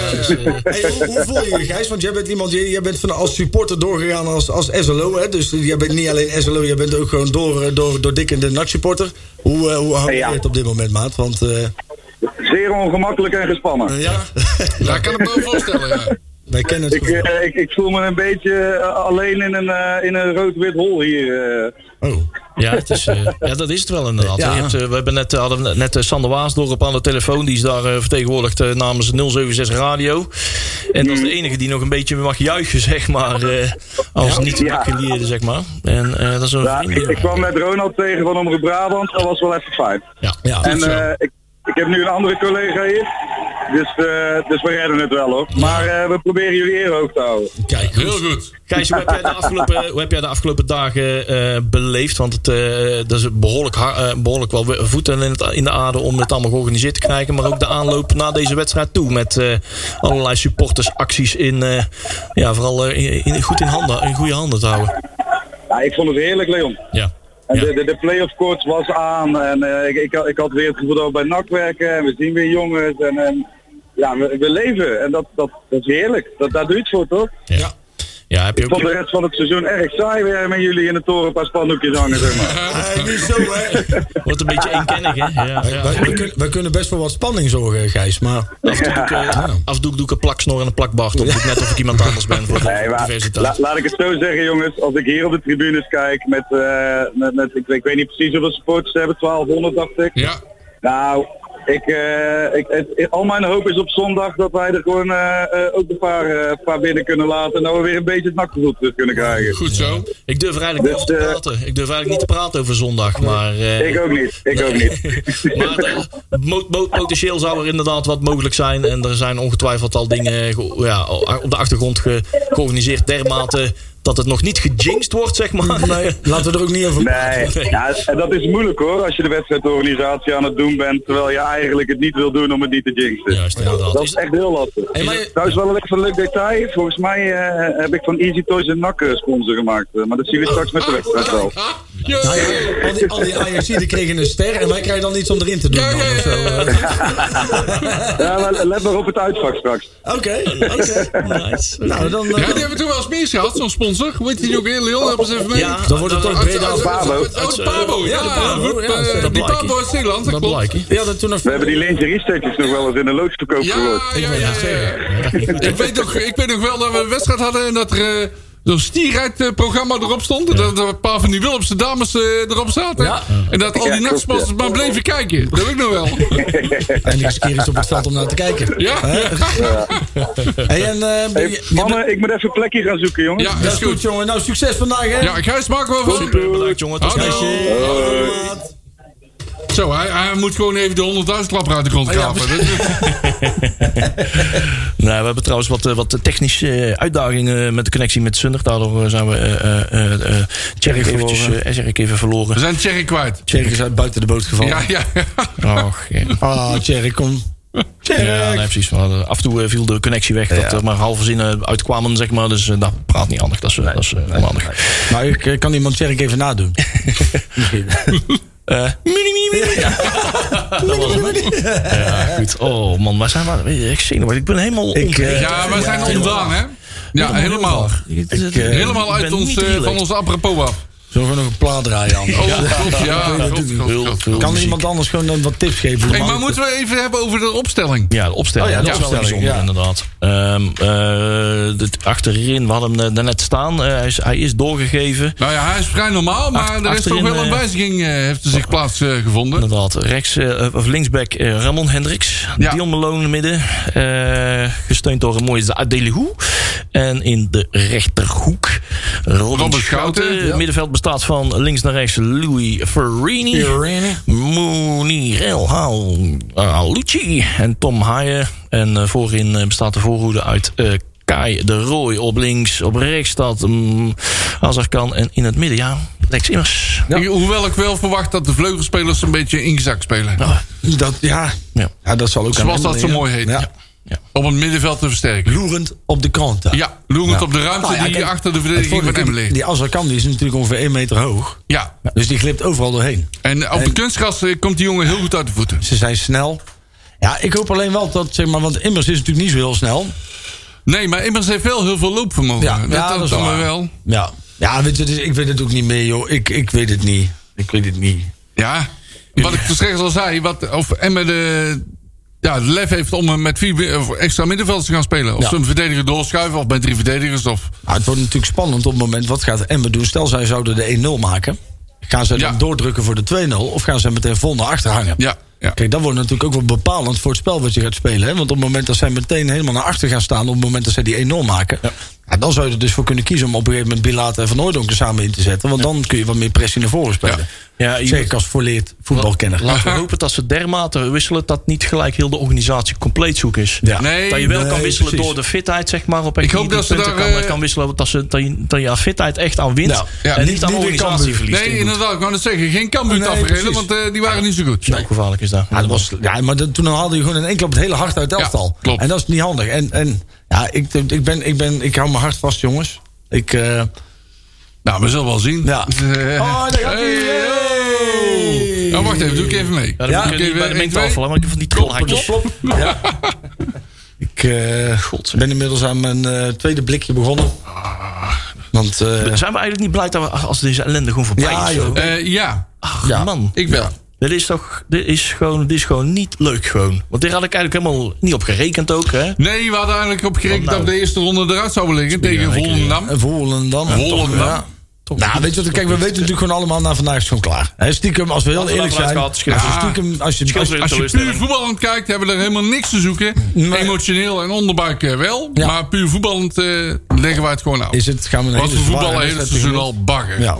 H: ja.
G: Hey, hoe, hoe voel je je, Gijs? Want jij bent iemand. Jij, jij bent van als supporter doorgegaan als, als SLO. Hè? Dus jij bent niet alleen SLO, jij bent ook gewoon door, eh, door, door dik en de NAC supporter. Hoe, eh, hoe hou je
K: Ja.
G: het op dit moment, maat? Want. eh,
K: Zeer ongemakkelijk en gespannen.
G: ja,
H: Ja, ik kan het me wel voorstellen, ja.
G: wij kennen het.
K: Ik,
G: goed.
K: eh, ik, ik voel me een beetje eh, alleen in een, eh, in een rood-wit hol hier. eh.
G: Oh.
F: Ja, het is, eh, ja, dat is het wel inderdaad.
G: Ja.
F: Je hebt, eh, we hebben net, eh, hadden net eh, Sander Waasdorp aan de telefoon. Die is daar eh, vertegenwoordigd eh, namens 076 Radio. En dat is
K: Mm.
F: de enige die nog een beetje mag juichen, zeg maar. eh, als niet
K: Ja.
F: geleerde, zeg maar. En eh, dat is een
K: Ja, ik,
F: vriendin.
K: ik kwam met Ronald tegen van Omroep Brabant. Dat was wel even fijn.
F: Ja.
G: Ja,
K: En eh, ik, ik heb nu een andere collega hier. Dus, eh, dus we redden het wel hoor. Maar eh, we proberen jullie eer hoog te houden.
F: Kijk,
H: Heel goed.
F: Gijs, hoe heb jij de afgelopen, hoe heb jij de afgelopen dagen eh, beleefd? Want het, eh, dat is behoorlijk, ha- eh, behoorlijk wel we- voeten in, het, in de aarde om het allemaal georganiseerd te krijgen. Maar ook de aanloop naar deze wedstrijd toe. Met eh, allerlei supportersacties in, eh, ja, vooral eh, in, in- goed in, handen, in goede handen te houden.
K: Ja, ik vond het heerlijk Leon.
F: Ja.
K: En
F: Ja.
K: de, de, de playoff coach was aan. En eh, ik, ik, had- ik had weer het gevoel dat we bij NAC werken. En we zien weer jongens. En, en ja, we, we leven. En dat, dat, dat is heerlijk. Dat, daar doe je het voor toch?
F: Ja. ja, heb je
K: Ik vond de
F: ook...
K: rest van het seizoen erg saai weer met jullie in de toren een paar spandoekjes hangen zeg maar.
G: Hey, Eh, niet zo, hè?
F: Wordt een beetje eenkennig, hè? Ja, ja.
G: Wij, wij kunnen, wij kunnen best wel wat spanning zorgen, Gijs. Maar
F: Af en toe doe ik, eh, af en toe doe ik een plaksnor en een plakbaard. Of ik net of ik iemand anders ben voor de
K: Nee, maar
F: diversiteit.
K: la- laat ik het zo zeggen, jongens. Als ik hier op de tribunes kijk met, eh, met, met ik, ik weet niet precies hoeveel supporters ze hebben, 1200 dacht ik.
H: Ja.
K: Nou, ik, eh, ik, het- al mijn hoop is op zondag dat wij er gewoon eh, eh, ook een paar, eh, paar binnen kunnen laten. En dat we weer een beetje het nakgevoel terug kunnen krijgen.
H: Goed zo.
F: Ik durf er eigenlijk niet
K: Dus,
F: over te
K: eh,
F: praten. Ik durf eigenlijk niet te praten over zondag. Maar, eh,
K: Ik ook niet, ik ook niet.
F: maar eh, mo- mo- potentieel zou er inderdaad wat mogelijk zijn. En er zijn ongetwijfeld al dingen ge- ja, op de achtergrond ge- georganiseerd. Dermate dat het nog niet gejinxed wordt, zeg maar.
G: laten we er ook niet over
K: Nee, ja, en dat is moeilijk hoor, als je de wedstrijdorganisatie aan het doen bent, terwijl je eigenlijk het niet wil doen om het niet te jinxen.
F: Juist, inderdaad.
K: Dat
F: Is-
K: is echt heel lastig.
F: Hey, maar je-
K: Trouwens wel een extra leuk detail. Volgens mij eh, heb ik van Easy Toys een nak eh, sponsor gemaakt. Eh, maar dat zien we straks met de wedstrijd wel.
H: Ah, jee.
G: Al die, al die Ajaxiden kregen een ster en wij krijgen dan iets om erin te doen.
H: Ja,
G: dan
H: ja,
G: of zo.
H: ja,
G: Eh,
K: Ja, maar let maar op het uitvak straks.
G: Oké, oké.
F: Nice.
G: Nou, dan...
H: Ja,
G: eh,
H: die hebben we toen wel eens meer gehad, zo'n sponsor. Hoe heet die ook heel heel? Hebben ze even mee? Ah,
F: Ja,
G: Dan wordt het toch
H: Uit- uit-
G: Breda
H: uit-
G: of
K: Pabo.
H: uit- uit- uit- ah, Pabo, ja.
G: de Pabo,
H: goed,
G: ja, dat
H: eh, Die
F: blijkt.
H: Pabo is Nederland, dat
F: Dat
H: klopt.
F: blijkt, hè?
G: Ja, dat eh, toen nog...
K: We hebben die lingerie stukjes nog wel eens in de loods te koop
H: Ja,
K: gehoord.
H: ja, ja. ja. Ik weet nog- Ik weet nog wel dat we een wedstrijd hadden en dat er eh, zo'n stierrijdprogramma erop stond. En dat er een paar van die Willemse dames eh, erop zaten.
G: Ja.
H: En dat al
K: Ja,
H: die
K: klopt,
H: nachtsponsors
K: ja.
H: maar bleven kijken. Dat weet ik nog wel.
G: En ik keer iets op het veld om naar te kijken.
H: Ja.
G: Hey, en, eh,
K: Hey,
G: je- je bent-
K: mannen, ik moet even een plekje gaan zoeken, jongens.
H: Ja,
G: dat
H: is
G: is goed,
H: goed.
G: jongen. Nou, succes vandaag, hè.
H: Ja, Gijs, maken we van.
F: Super, bedankt jongen. Tot
H: Hallo.
F: ziens.
G: Hey, maat.
H: Zo, hij, hij moet gewoon even de 100.000 klapper uit de grond krapen.
F: Nou, we hebben trouwens wat, eh, wat technische eh, uitdagingen met de connectie met Sundag. Daardoor eh, zijn we eh eh eh, eh, Tjerk
G: Tjerk
F: eventjes,
G: verloren.
F: eh, Tjerk even verloren.
H: We zijn Tjerk kwijt.
G: Tjerk is uit buiten de boot gevallen.
H: Ja, ja.
F: Och, ja.
G: Ah, Tjerk, kom.
F: Ja, nee, precies. We hadden- af en toe eh, viel de connectie weg. Dat er maar halve zinnen uitkwamen, zeg maar. Dus eh, dat praat niet handig. Dat is, eh, dat is eh, onhandig.
G: Maar ik eh, kan iemand Tjerk even nadoen. Misschien.
F: Eh, dat was het. Ja, goed. Oh man, waar zijn we? Weet je, Ik zenuwachtig. Ik ben helemaal...
G: Ik, eh,
H: Ja, we zijn
F: ontdaan
H: ontdaan, hè? Ja, helemaal.
F: Ik, eh,
H: Helemaal uit
F: ben
H: ons,
F: niet
H: eh, van
F: relaxed.
H: ons apropos af.
G: Zullen we nog een plaat draaien, Anders?
H: Oh, god, ja.
G: dat
H: god,
G: doe ik niet.
H: god,
F: Heel
H: god.
F: veel
G: Kan
F: muziek.
G: iemand anders gewoon dan wat tips geven?
H: Hey, maar moeten we even hebben over de opstelling?
F: Ja, de opstelling.
G: Oh ja,
F: dat
G: de
F: is wel
G: opstelling,
F: bijzonder, inderdaad. Ehm, eh, dit achterin, we hadden hem eh, daarnet staan. Eh, hij, is, hij is doorgegeven.
H: Nou ja, hij is vrij normaal, maar
F: Acht-
H: er is toch
F: achterin,
H: wel een
F: eh,
H: wijziging eh, heeft er zich eh, plaatsgevonden.
F: Inderdaad. Rechts, eh, of linksback eh, Ramon Hendricks.
H: Ja.
F: Dion Malone in het midden. Eh, gesteund door een mooie Adelihu. En in de rechterhoek Robin
H: Robert Schouten,
F: Schouten.
H: ja.
F: Het middenveld bestaat van links naar rechts Louis Ferrini. Mounir El Hal- Alucci en Tom Haaien. En eh, voorin eh, bestaat de voorhoede uit eh, Kai de Roy op links. Op rechts staat mm, Azarkan en in het midden, ja, Lex Immers.
H: Ik- Hoewel ik wel verwacht dat de vleugelspelers een beetje ingezakt spelen.
F: Ah,
G: Dat, ja.
F: ja.
G: ja, dat zal ook aan
H: Zoals
G: hem
H: dat zo
G: liggen.
H: mooi heet.
G: Ja.
H: Om het middenveld te versterken.
G: Loerend op de kant. daar.
H: Ja, loerend
G: Ja.
H: op de ruimte
G: Nou ja,
H: die
G: kijk,
H: achter de
G: Het
H: verdediging van
G: voordeel-
H: Emmen ligt.
G: Die Azarkan die is natuurlijk ongeveer 1 meter hoog.
H: Ja,
G: Dus die glipt overal doorheen.
H: en op de kunstgras eh, komt die jongen heel goed uit de voeten.
G: Ze zijn snel. Ja, ik hoop alleen wel dat, zeg maar, want Immers is natuurlijk niet zo heel snel.
H: Nee, maar Immers heeft wel heel veel loopvermogen.
G: Ja,
H: dat,
G: ja, dat is
H: doen we
G: waar.
H: wel.
G: Ja, ja weet je, dus ik weet het ook niet meer, joh. Ik, ik weet het niet. Ik weet het niet.
H: Ja, wat ik dus rechts al zei, wat, of Emmen de, ja, de lef heeft om hem met vier mi- of extra middenvelders te gaan spelen. Of
G: Ja.
H: ze een verdediger doorschuiven, of met drie verdedigers. Of,
G: Maar Ah, het wordt natuurlijk spannend op het moment. Wat gaat Emmen doen? Stel, zij zouden de 1-0 maken. Gaan zij dan
H: Ja.
G: doordrukken voor de 2-0? Of gaan zij meteen vol naar achter hangen?
H: ja, ja.
G: Kijk, dat wordt natuurlijk ook wel bepalend voor het spel wat je gaat spelen. Hè? Want op het moment dat zij meteen helemaal naar achter gaan staan... op het moment dat zij die 1-0 maken... Ja. dan zou je er dus voor kunnen kiezen om op een gegeven moment Bilate en Van Hooydonk er samen in te zetten. Want dan kun je wat meer pressie naar voren spelen.
F: Ja, je
G: Zeker
F: moet-
G: als volleerd voetbalkenner.
F: Laten we hopen dat ze dermate wisselen dat niet gelijk heel de organisatie compleet zoek is.
G: Ja.
H: Nee,
F: dat je wel kan
G: nee,
F: wisselen
G: precies.
F: door de fitheid, zeg maar. Op
H: Ik hoop dat ze daar,
F: kan,
H: eh,
F: kan wisselen dat, ze, dat, je, dat je aan fitheid echt aan wint.
G: Ja.
H: Ja,
F: en
H: niet-
F: niet, aan
G: niet weer
F: organisatie
G: Cambuur.
F: verliest.
H: Nee, inderdaad, ik wou net zeggen, geen kambuut
G: Nee,
H: afreden,
G: precies.
H: want eh, die waren niet zo goed.
F: Zo gevaarlijk is dat.
G: Ja, dat was, ja maar dat- toen haalde je gewoon in één klap het hele hart uit het
H: Ja,
G: elftal.
H: klopt.
G: En dat is niet handig. En, en ja, ik, ik, ben, ik, ben, ik hou mijn hart vast, jongens. Ik, eh,
H: Nou, we zullen wel zien.
G: Ja.
H: Dus, eh,
G: Oh, daar gaat hij. Hey.
H: Nou, wacht even, doe ik even mee.
F: Ja, dan
G: Ja,
F: moet ik
H: oké,
F: niet bij de
H: één,
F: mengtafel,
H: twee.
F: hè, want ik heb van die trilhaakjes.
G: ja. ik eh, ben inmiddels aan mijn eh, tweede blikje begonnen. Want eh,
F: Zijn we eigenlijk niet blij dat we als deze ellende gewoon voorbij
G: Ja,
F: is?
G: joh.
H: Eh, ja,
F: Ach, man.
H: ik wel.
F: Dit is toch, dit is gewoon, dit is gewoon niet leuk gewoon. Want daar had ik eigenlijk helemaal niet op gerekend ook, hè.
H: Nee, we hadden eigenlijk op gerekend
F: Wat nou?
H: dat we de eerste ronde eruit zouden liggen tegen
F: lekker,
H: Volendam.
G: Volendam.
H: Volendam.
G: Ja. Nou, weet je wat? Kijk, we weten natuurlijk gewoon allemaal... na vandaag is het gewoon klaar. Hè, stiekem, als we heel
F: Laten we
G: eerlijk
F: dat
G: zijn...
F: gelijk gehad, scheelt-
G: ja, stiekem, als je...
F: scheelt
G: Als,
F: weer
G: als je-
H: Als je puur
F: Teleurstelling.
H: voetballend kijkt, hebben we er helemaal niks te zoeken.
G: Nee.
H: Emotioneel en onderbuik eh, wel.
G: Ja.
H: Maar puur voetballend eh, leggen wij het gewoon af.
G: is het, gaan we een
H: Want
G: hele
H: we
G: zware
H: voetballen hele
G: wedstrijd
H: seizoen
G: tegemoet.
H: al bagger.
G: Ja.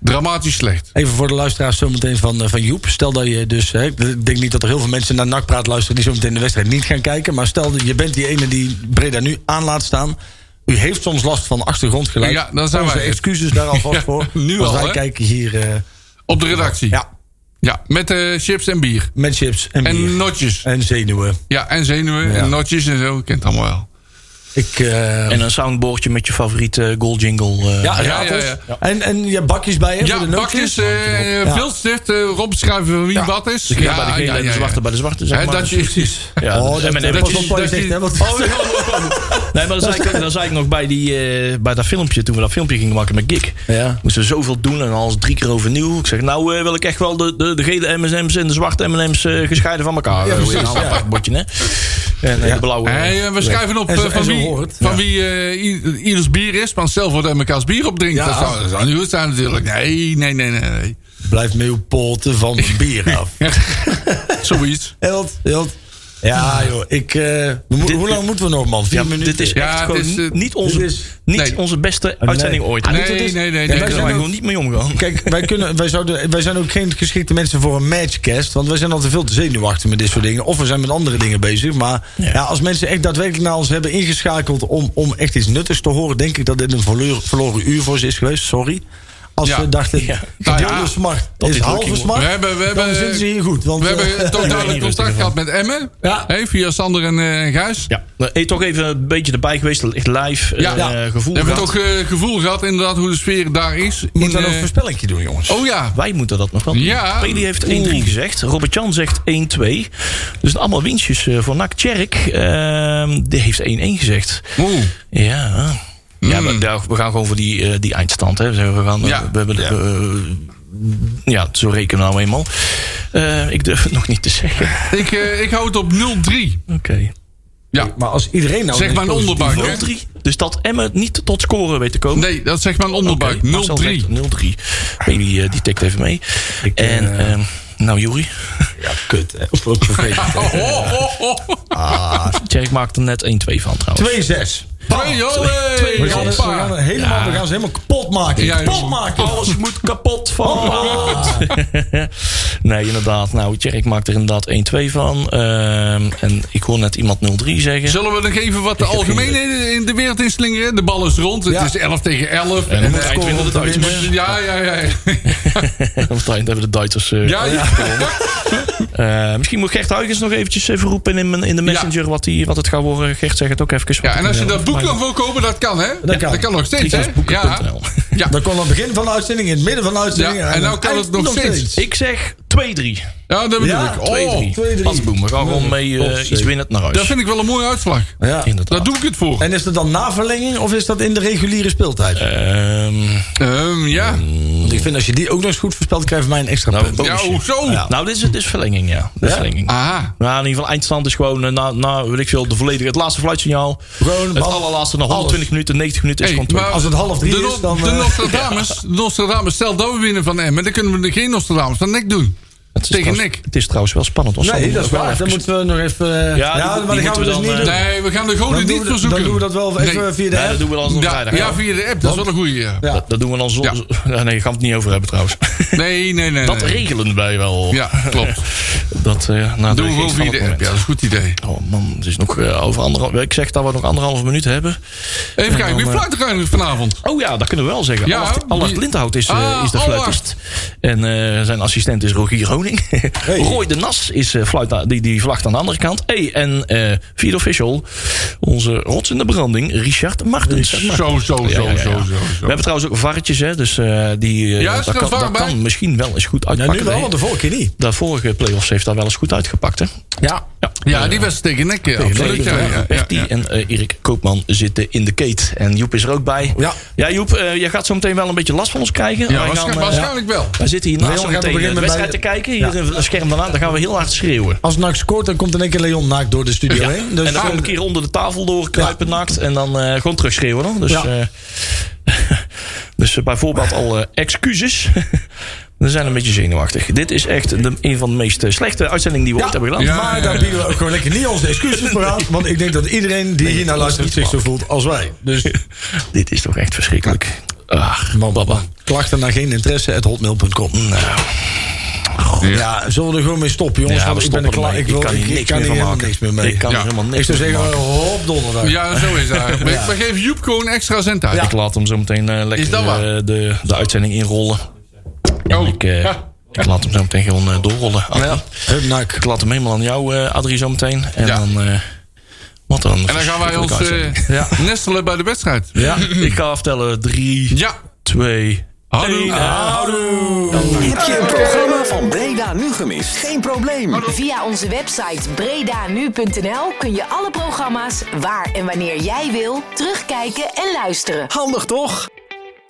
H: Dramatisch slecht.
G: Even voor de luisteraars zometeen van, eh, van Joep. Stel dat je dus... Hè, ik denk niet dat er heel veel mensen naar nakpraat luisteren... die zometeen de wedstrijd niet gaan kijken. Maar stel, dat je bent die ene die Breda nu aan laat staan. U heeft soms last van achtergrondgeluid.
H: Ja, dan zijn
G: Onze
H: wij het.
G: excuses daar alvast
H: Ja,
G: voor.
H: nu
G: want
H: al,
G: wij
H: hè?
G: kijken hier eh,
H: Op de redactie.
G: ja,
H: Ja, met eh, chips en bier.
G: met chips en, bier.
H: En notjes.
G: en zenuwen.
H: Ja, en zenuwen
G: Ja.
H: en notjes en zo. Je kent het allemaal wel.
G: Ik, eh,
F: En een soundboardje met je favoriete goal jingle. eh,
G: ja,
H: ja, ja,
G: ratels.
H: ja,
G: En, en je hebt bakjes bij je
H: Ja,
G: voor de nootjes.
H: bakjes, eh
G: Ja.
H: veel stift. eh, Rob schrijven van wie wat is.
F: de gele bij de gele en de zwarte bij de zwarte, zeg
H: Hè,
F: maar.
H: dat je, precies.
F: Ja,
G: Oh,
F: dat-
G: dat,
F: M&M's.
G: pas op wat je
H: dat
G: zegt,
H: je- Oh,
G: hè, want-
F: Nee, maar dan zei, ik, dan zei ik nog bij, die, eh, bij dat filmpje, toen we dat filmpje gingen maken met Gik.
G: Ja.
F: Moesten we zoveel doen en alles drie keer overnieuw. Ik zeg, nou eh, wil ik echt wel de, de, de gele M&M's en de zwarte M&M's eh, gescheiden van elkaar. Ja,
G: precies,
F: in een
G: ja.
F: apart bordje, hè. En eh, de blauwe.
H: Hey, eh, we schrijven op
G: En zo-
H: eh, van
G: en zo
H: wie,
G: hoort.
H: van
G: Ja.
H: wie eh, i- ieders bier is. Want stel voor dat mekaars bier opdrinkt.
G: Ja.
H: Dat, zou, dat zou niet goed zijn natuurlijk. Nee, nee, nee, nee. nee.
G: Blijf mee op poten van bier af.
H: Zoiets.
G: Held, held. Ja, joh. Ik, eh, we mo- hoe lang moeten we nog, man? Vier
F: Ja,
G: minuten?
F: dit is echt gewoon niet onze,
G: dit is-
F: niet
G: nee.
F: onze beste
G: Nee.
F: uitzending ooit.
G: Ah, dit- dit is- Ja,
F: Daar
G: wij
F: kunnen
G: zijn
F: wij
G: ook-
F: gewoon niet mee omgaan.
G: Kijk, wij, kunnen, wij, zouden, wij zijn ook geen geschikte mensen voor een matchcast. Want wij zijn al te veel te zenuwachtig met dit soort dingen. Of we zijn met andere dingen bezig. Maar ja. als mensen echt daadwerkelijk naar ons hebben ingeschakeld... Om, om echt iets nuttigs te horen... denk ik dat dit een verloren, verloren uur voor ze is geweest. Sorry. Als
H: Ja.
G: we dachten, ja.
H: Nou ja,
G: smart
H: dat
G: is
H: dit
G: halve
H: lukking
G: smart.
H: wordt. We hebben-
G: dan
H: we hebben-
G: zitten ze hier goed. Want, eh,
H: We hebben totale contact gehad met Emmen. Hey, via Sander en eh, Gijs.
F: Ja. Nou, eh, toch even een beetje erbij geweest. Echt live eh,
H: Ja. Ja.
F: gevoel.
H: We hebben
F: gehad.
H: toch eh, gevoel gehad inderdaad hoe de sfeer daar is.
F: Moeten we nog een
G: voorspellingje doen, jongens?
H: eh, Oh ja.
F: Wij moeten dat nog wel doen.
H: Ja.
F: Peli heeft 1-3
H: Oeh.
F: gezegd. Robert-Jan zegt 1-2. Dus allemaal winstjes eh, voor NAC. Tjerk, ehm, die heeft 1-1 gezegd.
H: Oeh.
F: Ja. Ja, maar daar- we gaan gewoon voor die, eh, die eindstand. Hè. We zeggen, we gaan, eh,
H: Hmm. Ja.
F: We hebben, de- eh, ja, zo rekenen we nou eenmaal. Eh, ik durf het nog niet te zeggen.
H: Ik, eh, ik hou het op 0-3.
F: Oké.
H: Ja.
G: Maar als iedereen nou...
H: zeg maar een onderbuik. hè?
F: 0-3. Dus dat Emmen niet tot scoren weet te komen.
H: Nee, dat zeg maar een onderbuik.
F: Oké, Marcel
H: 0-3.
F: zegt 0-3. Peli, eh, die tikt even mee. en, ehm, nou Juri.
G: Ja, kut. hè. Op- op- op-
H: Oh, oh, oh, oh.
F: Ah, Tjerk maakt er net 1-2 van trouwens.
G: 2-6.
H: Hey, joh, hey.
G: We gaan, we
H: Hoppa.
G: gaan helemaal, we gaan ze helemaal kapot maken.
H: Ja,
G: kapot
H: joh.
G: maken. Oh.
F: Alles moet kapot van. nee, inderdaad. Nou, Tjerk maakt er inderdaad 1-2 van. Ehm, en ik hoor net iemand 0-3 zeggen.
H: Zullen we nog even wat de algemeenheden in de wereld inslingeren? De bal is rond. Het
G: Ja.
H: is 11 tegen 11.
F: En
H: En,
F: moet
H: eh,
F: Eindhoven
H: komt
F: het
H: er
F: uit.
H: weer- Ja, ja, ja.
F: Want daar hebben de Duitsers. eh,
H: Ja, ja.
F: eh, misschien moet Gert Huygens nog eventjes even roepen in, mijn- in de messenger wat, die, wat het gaat worden. Gert zegt het ook even.
H: Ja, en als je dat boek nog wil kopen, dat kan, hè?
G: Dat kan.
H: nog steeds, hè? Ja. Ja.
G: Dat kon aan het begin van de uitzending, in het midden van de uitzending.
H: Ja, en
G: aan
H: nou kan
G: eind
H: het nog steeds.
F: Ik zeg 2-3.
H: Ja, dat bedoel
G: Ja,
H: ik.
F: 2-3.
H: Oh,
G: 2-3.
F: Pas boem, we gaan gewoon mee eh,
G: Top,
F: iets
G: Oh, zeker.
F: winnen naar huis.
H: dat vind ik wel een mooie uitslag.
G: Ja.
F: Inderdaad.
H: Daar doe ik het voor.
G: En is dat dan na verlenging of is dat in de reguliere speeltijd?
F: Ehm,
H: Ehm, ja.
G: Want ik vind als je die ook nog eens goed voorspelt, krijg je mij een extra
F: Nou,
G: punt.
H: Ja, hoezo?
F: Nou, dit is, dit is verlenging, ja. Dit is
G: Ja?
F: verlenging.
H: Aha.
F: Nou, in ieder geval, eindstand is gewoon, eh, na, na weet ik veel, de volledige, het laatste fluitsignaal.
G: Gewoon,
F: het
G: bal-
F: allerlaatste, nog
G: alles.
F: 120 minuten, 90 minuten is
H: Hey,
F: gewoon
H: maar
G: Als het half drie
H: de,
G: is,
H: No-
G: dan,
H: de
G: eh,
H: Nostradamus, de Nostradamus, stel dat we winnen van Emmen, dan kunnen we er geen Nostradamus van Nek doen.
F: Het is
H: tegen
F: trouwens-
H: Nick.
F: Het is trouwens wel spannend. want
G: Nee,
F: Sander
G: dat is
F: moet
G: waar. Dan
F: even-
G: moeten we nog even...
F: Ja, die-
G: eh,
F: die
G: maar dan gaan
F: moeten
G: we
F: we
G: dus
F: dan,
G: niet
F: eh,
G: doen.
H: Nee, we gaan de goden
G: Dan doen
H: niet
G: we dat-
H: verzoeken.
G: dan doen we dat wel even via de
F: Ja,
G: app.
F: dat doen we dan zondag
H: Ja,
F: vrijdag.
H: ja,
F: hè?
H: via de app, dat is wel een goede. ja.
F: Dat, dat doen we dan zo.
H: Ja.
F: Ja, nee, daar gaan we het niet over hebben trouwens.
H: Nee, nee, nee.
F: Dat
H: nee.
F: regelen wij wel.
H: Ja, klopt.
F: Dat eh nou,
H: Doen
F: de
H: we gewoon
F: geest
H: via
F: van
H: de
F: het
H: app. Ja, dat is
F: moment.
H: een goed idee.
F: Oh man, het is nog eh, over anderhalf. Ik zeg dat we nog anderhalve minuut hebben.
H: Even
F: dan,
H: kijken, wie
F: eh,
H: fluit er eigenlijk vanavond?
F: Oh ja, dat kunnen we wel zeggen.
H: Ja,
F: Allard, Allard
H: die-
F: Lindhout is, eh,
H: Ah,
F: is de
H: Allard.
F: fluitist. En eh, zijn assistent is Rogier Honing. Roy de Nas is eh, fluit, aan- die, die vlagt aan de andere kant. Hey, en eh vierde official, onze rots in de branding, Richard Martens.
H: Zo, zo,
F: Ja, ja,
H: zo,
F: ja, ja.
H: zo, zo,
F: We
H: zo.
F: hebben trouwens ook varretjes, hè, dus eh, die, eh,
H: Ja, is er
F: dat,
H: een
F: kan,
H: var
F: dat
H: bij?
F: kan misschien wel eens goed
G: Ja,
F: uitpakken.
G: nu wel, want de vorige keer niet.
F: De vorige play-offs heeft daar wel eens goed uitgepakt, hè?
G: Ja.
H: Ja, die was tegen Nek. eh, Absoluut,
F: Absoluut.
H: ja, ja, ja, ja.
F: en eh, Erik Koopman zitten in de keet. En Joep is er ook bij.
G: Ja.
F: Joep, eh, jij gaat zo meteen wel een beetje last van ons krijgen.
H: Ja,
F: Wij gaan,
H: waarschijnlijk,
F: eh,
H: waarschijnlijk wel.
F: Wij zitten hier
G: Leon
F: naast zo
G: gaat
F: meteen
G: beginnen
F: de
G: met
F: wedstrijd te
G: bij-
F: kijken. Hier in het scherm daarna. Dan gaan we heel hard schreeuwen.
G: Als NAC scoort, dan komt in één keer Leon naakt door de studio heen. Dus
F: en dan kom ik een keer onder de tafel door, kruipen nakt. En dan eh, gewoon terug schreeuwen. Hoor. Dus,
G: Ja.
F: eh, dus eh, bijvoorbeeld al eh, excuses. We zijn een beetje zenuwachtig. Dit is echt de, een van de meest eh, slechte uitzendingen die we ooit hebben gedaan.
H: Ja.
G: Maar daar bieden we ook gewoon lekker niet onze excuses voor aan. Want ik denk dat iedereen die hier naar luistert zich zo voelt als wij. Dus
F: Dit is toch echt verschrikkelijk. Ah. Ach,
G: man,
F: baba.
G: klachten naar geen interesse at hotmail.com. Nou. Ja, zullen we er gewoon mee stoppen, jongens?
F: Ja,
G: Want
F: we
G: ik ben er
F: stoppen ermee.
G: klaar. Ik,
F: Ik
G: wil,
F: kan hier niks meer van
G: helemaal
F: maken.
G: niks meer mee.
F: Ik kan er helemaal niks
G: ik zou
F: meer
G: zeggen,
F: van maken.
G: hop donderdag.
H: Ja, zo is dat. Maar ik- Maar geef Joep gewoon extra cent uit.
F: Ik laat hem zo meteen eh, lekker
H: Is dat waar?
F: eh, de, de uitzending inrollen. En
H: Oh.
F: ik, eh,
H: Ja.
F: ik laat hem zo meteen gewoon eh, doorrollen. Adrie.
G: Hup, nak.
F: Ik laat hem helemaal aan jou, eh Adrie, zo meteen. En
H: Ja.
F: dan... eh, wat dan?
H: En dan gaan wij ons eh, nestelen bij de wedstrijd.
F: ja. Ik ga aftellen. 3,
H: Ja.
F: 2,
H: Houdoe.
F: 1.
A: Heb je een programma van Breda Nu gemist? Geen probleem. Via onze website bredanu.nl kun je alle programma's waar en wanneer jij wil terugkijken en luisteren.
B: Handig toch?